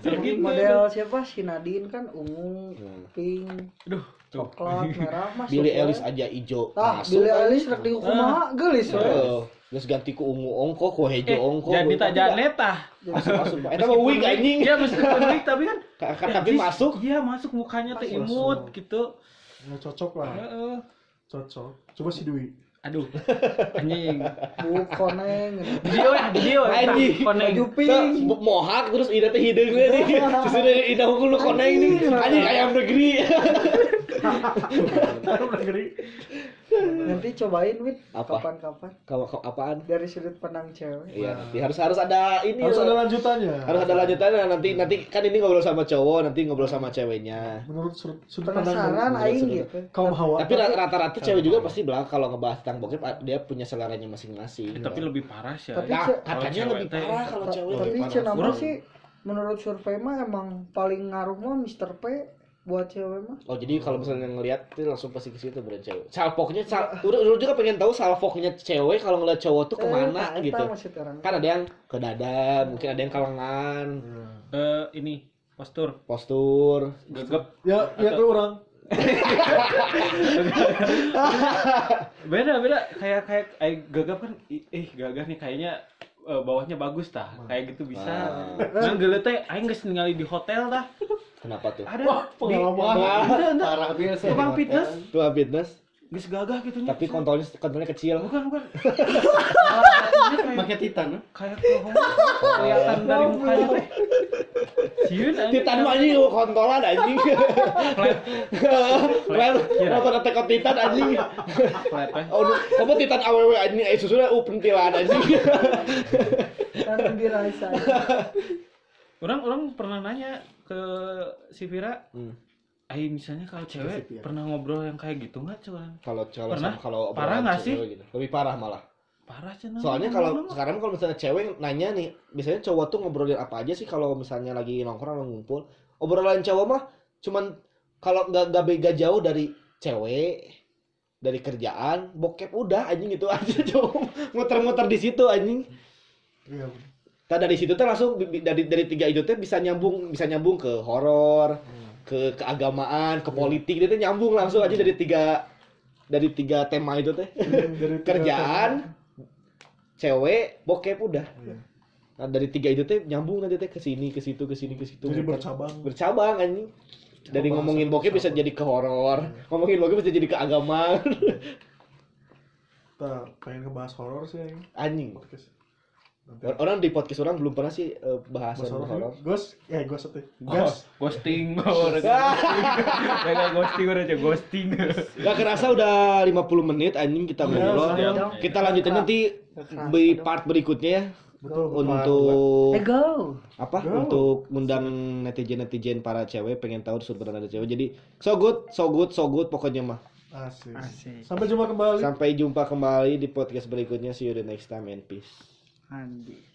[SPEAKER 6] Sok gitu.
[SPEAKER 3] model siapa si Nadine kan ungu,
[SPEAKER 2] Hmm.
[SPEAKER 3] pink,
[SPEAKER 6] Aduh, tuh.
[SPEAKER 3] coklat, merah masuk.
[SPEAKER 2] Billy
[SPEAKER 3] ya.
[SPEAKER 2] Ellis aja ijo
[SPEAKER 3] Tah,
[SPEAKER 2] masuk
[SPEAKER 3] Billy
[SPEAKER 2] kan.
[SPEAKER 3] Eilish rek dihukum mah geulis we.
[SPEAKER 2] Eh, terus ganti ku ungu ongko ku
[SPEAKER 6] Eh,
[SPEAKER 2] hijau ongko
[SPEAKER 6] jadi
[SPEAKER 2] ku-
[SPEAKER 6] tak janet tah.
[SPEAKER 2] masuk masuk itu mau wig anjing
[SPEAKER 6] Iya, meskipun wig tapi kan
[SPEAKER 2] Ka- ka- tapi
[SPEAKER 6] Jis,
[SPEAKER 2] masuk
[SPEAKER 6] Iya, masuk mukanya teh imut gitu.
[SPEAKER 1] Nggak Ya, cocok
[SPEAKER 2] Ah.
[SPEAKER 1] lah.
[SPEAKER 6] Heeh.
[SPEAKER 1] Cocok. Coba si Dwi.
[SPEAKER 6] Aduh. Anjing.
[SPEAKER 3] Bu koneng. gitu.
[SPEAKER 6] Video ya, video.
[SPEAKER 2] Anjing.
[SPEAKER 6] Koneng.
[SPEAKER 3] Baju
[SPEAKER 2] Teu,
[SPEAKER 3] pink.
[SPEAKER 2] bu- mohak terus ida teh hideung we nih terus ida ida hukum lu koneng nih anjing ayam negeri
[SPEAKER 1] Aduh, negeri.
[SPEAKER 3] Nanti cobain Win
[SPEAKER 2] Apa?
[SPEAKER 3] kapan-kapan
[SPEAKER 2] kalau kalau apaan
[SPEAKER 3] dari sudut pandang cewek.
[SPEAKER 2] Iya, nanti harus harus ada ini
[SPEAKER 1] Iya. Harus
[SPEAKER 2] loh.
[SPEAKER 1] ada lanjutannya.
[SPEAKER 2] harus ada lanjutannya nanti nanti kan ini ngobrol sama cowok nanti ngobrol sama ceweknya
[SPEAKER 1] Menurut sudut sudut pandang
[SPEAKER 3] Penasaran
[SPEAKER 1] dari
[SPEAKER 3] aing gitu.
[SPEAKER 1] kaum hawa.
[SPEAKER 2] tapi ra- rata-rata cewek juga pasti bilang kalau ngebahas tentang bokep a- dia punya seleranya masing-masing
[SPEAKER 6] Eh, Tapi lebih parah sih.
[SPEAKER 3] Tapi
[SPEAKER 2] nah,
[SPEAKER 3] ce-
[SPEAKER 2] katanya
[SPEAKER 6] kalau
[SPEAKER 2] lebih
[SPEAKER 6] cewek teh-
[SPEAKER 2] parah kalau
[SPEAKER 3] Ta-
[SPEAKER 2] cewek
[SPEAKER 3] Tapi
[SPEAKER 2] lebih parah.
[SPEAKER 3] cenah mah
[SPEAKER 6] Orang-
[SPEAKER 3] sih menurut survei mah emang paling ngaruh mah Mr. P buat cewek mah.
[SPEAKER 2] oh jadi kalau misalnya ngelihat tuh langsung pasti ke situ berarti cewek salpoknya sal urut urut juga pengen tahu salpoknya Iya. cewek kalau ngeliat cowok tuh kemana
[SPEAKER 3] Eh,
[SPEAKER 2] gitu
[SPEAKER 3] eta maksud orang.
[SPEAKER 2] kan ada yang ke dada mungkin ada yang kalangan
[SPEAKER 6] Eh, ini postur
[SPEAKER 2] postur
[SPEAKER 6] gegap
[SPEAKER 1] Ya, ya tuh orang.
[SPEAKER 6] beda beda kayak kayak kayak gegap kan ih ih, gagah nih kayaknya eh, bawahnya bagus tah kayak gitu bisa nah geuleuh teh aing geus ningali di hotel tah
[SPEAKER 2] kenapa tuh
[SPEAKER 6] ada
[SPEAKER 1] pengalaman.
[SPEAKER 7] Parah biasa.
[SPEAKER 6] tukang fitness
[SPEAKER 2] tuh fitness
[SPEAKER 6] geus gagah gitunya
[SPEAKER 2] tapi kontolnya kontolnya kecil
[SPEAKER 6] bukan bukan
[SPEAKER 7] Pakai titan. ah.
[SPEAKER 6] kayak pohon kelihatan dari mukanya teh sieun aing
[SPEAKER 2] Oh. Titan mah anjing kontolan anjing. Flat. Nonton Attack on Titan anjing.
[SPEAKER 6] iya. flat teh
[SPEAKER 2] Oh, nu- kamu Titan AWW anjing, eh susunya uh pentilan anjing.
[SPEAKER 3] Nanti dirasa.
[SPEAKER 2] Oh. Hmm.
[SPEAKER 6] orang orang pernah nanya ke si Vira Ay, misalnya kalau cewek
[SPEAKER 3] Spesifik ya.
[SPEAKER 6] pernah ngobrol yang kayak gitu nggak cuman
[SPEAKER 2] Kalau kalau
[SPEAKER 6] Pernah?
[SPEAKER 2] sama- kalau
[SPEAKER 6] Parah
[SPEAKER 2] obrolan
[SPEAKER 6] nggak
[SPEAKER 2] cewek
[SPEAKER 6] sih?
[SPEAKER 2] gitu. Lebih parah malah.
[SPEAKER 6] parah cuman
[SPEAKER 2] Soalnya kalau sekarang kalau misalnya cewek nanya nih, biasanya cowok tuh ngobrolin apa aja sih kalau misalnya lagi nongkrong atau ngumpul? Obrolan cowok mah cuman kalau nggak nggak beda jauh dari cewek, dari kerjaan, bokep udah anjing itu aja cowok muter-muter di situ anjing.
[SPEAKER 3] Iya.
[SPEAKER 2] Nah, dari situ teh langsung bi- bi- dari dari tiga itu teh bisa nyambung bisa nyambung ke horor, ke keagamaan, ke politik itu teh nyambung langsung aja dari tiga dari tiga tema itu teh. Kerjaan, cewek, bokep udah. Nah, dari tiga itu teh nyambung nanti teh ke sini, ke situ, ke sini, ke situ.
[SPEAKER 1] Jadi bercabang.
[SPEAKER 2] bercabang anjing. Dari
[SPEAKER 1] Cabang
[SPEAKER 2] ngomongin
[SPEAKER 1] sama
[SPEAKER 2] bokep bisa
[SPEAKER 1] cabang.
[SPEAKER 2] jadi ke horor, ngomongin bokep bisa jadi ke agama.
[SPEAKER 1] Kita pengen ngebahas horor sih yang
[SPEAKER 2] anjing.
[SPEAKER 1] podcast.
[SPEAKER 2] Orang di podcast orang belum pernah sih eh, bahasan
[SPEAKER 1] Bahas horor.
[SPEAKER 2] horor.
[SPEAKER 1] Gus, ya gue satu.
[SPEAKER 6] Ghost,
[SPEAKER 1] Gas.
[SPEAKER 6] ghosting orang ghosting. Ya ghosting orang aja ghosting.
[SPEAKER 2] Gak kerasa udah 50 menit anjing kita ngobrol.
[SPEAKER 6] Iya,
[SPEAKER 3] dong.
[SPEAKER 2] Kita lanjutin nanti di part berikutnya ya
[SPEAKER 1] Betul.
[SPEAKER 2] untuk
[SPEAKER 3] Ego.
[SPEAKER 2] apa?
[SPEAKER 1] Go.
[SPEAKER 2] Untuk ngundang netizen-netizen para cewek pengen tahu sudut pandang dari cewek. Jadi so good, so good, so good pokoknya mah.
[SPEAKER 1] Asik.
[SPEAKER 3] Asik.
[SPEAKER 1] Sampai jumpa kembali.
[SPEAKER 2] Sampai jumpa kembali di podcast berikutnya. See you the next time and peace.
[SPEAKER 3] Anjing.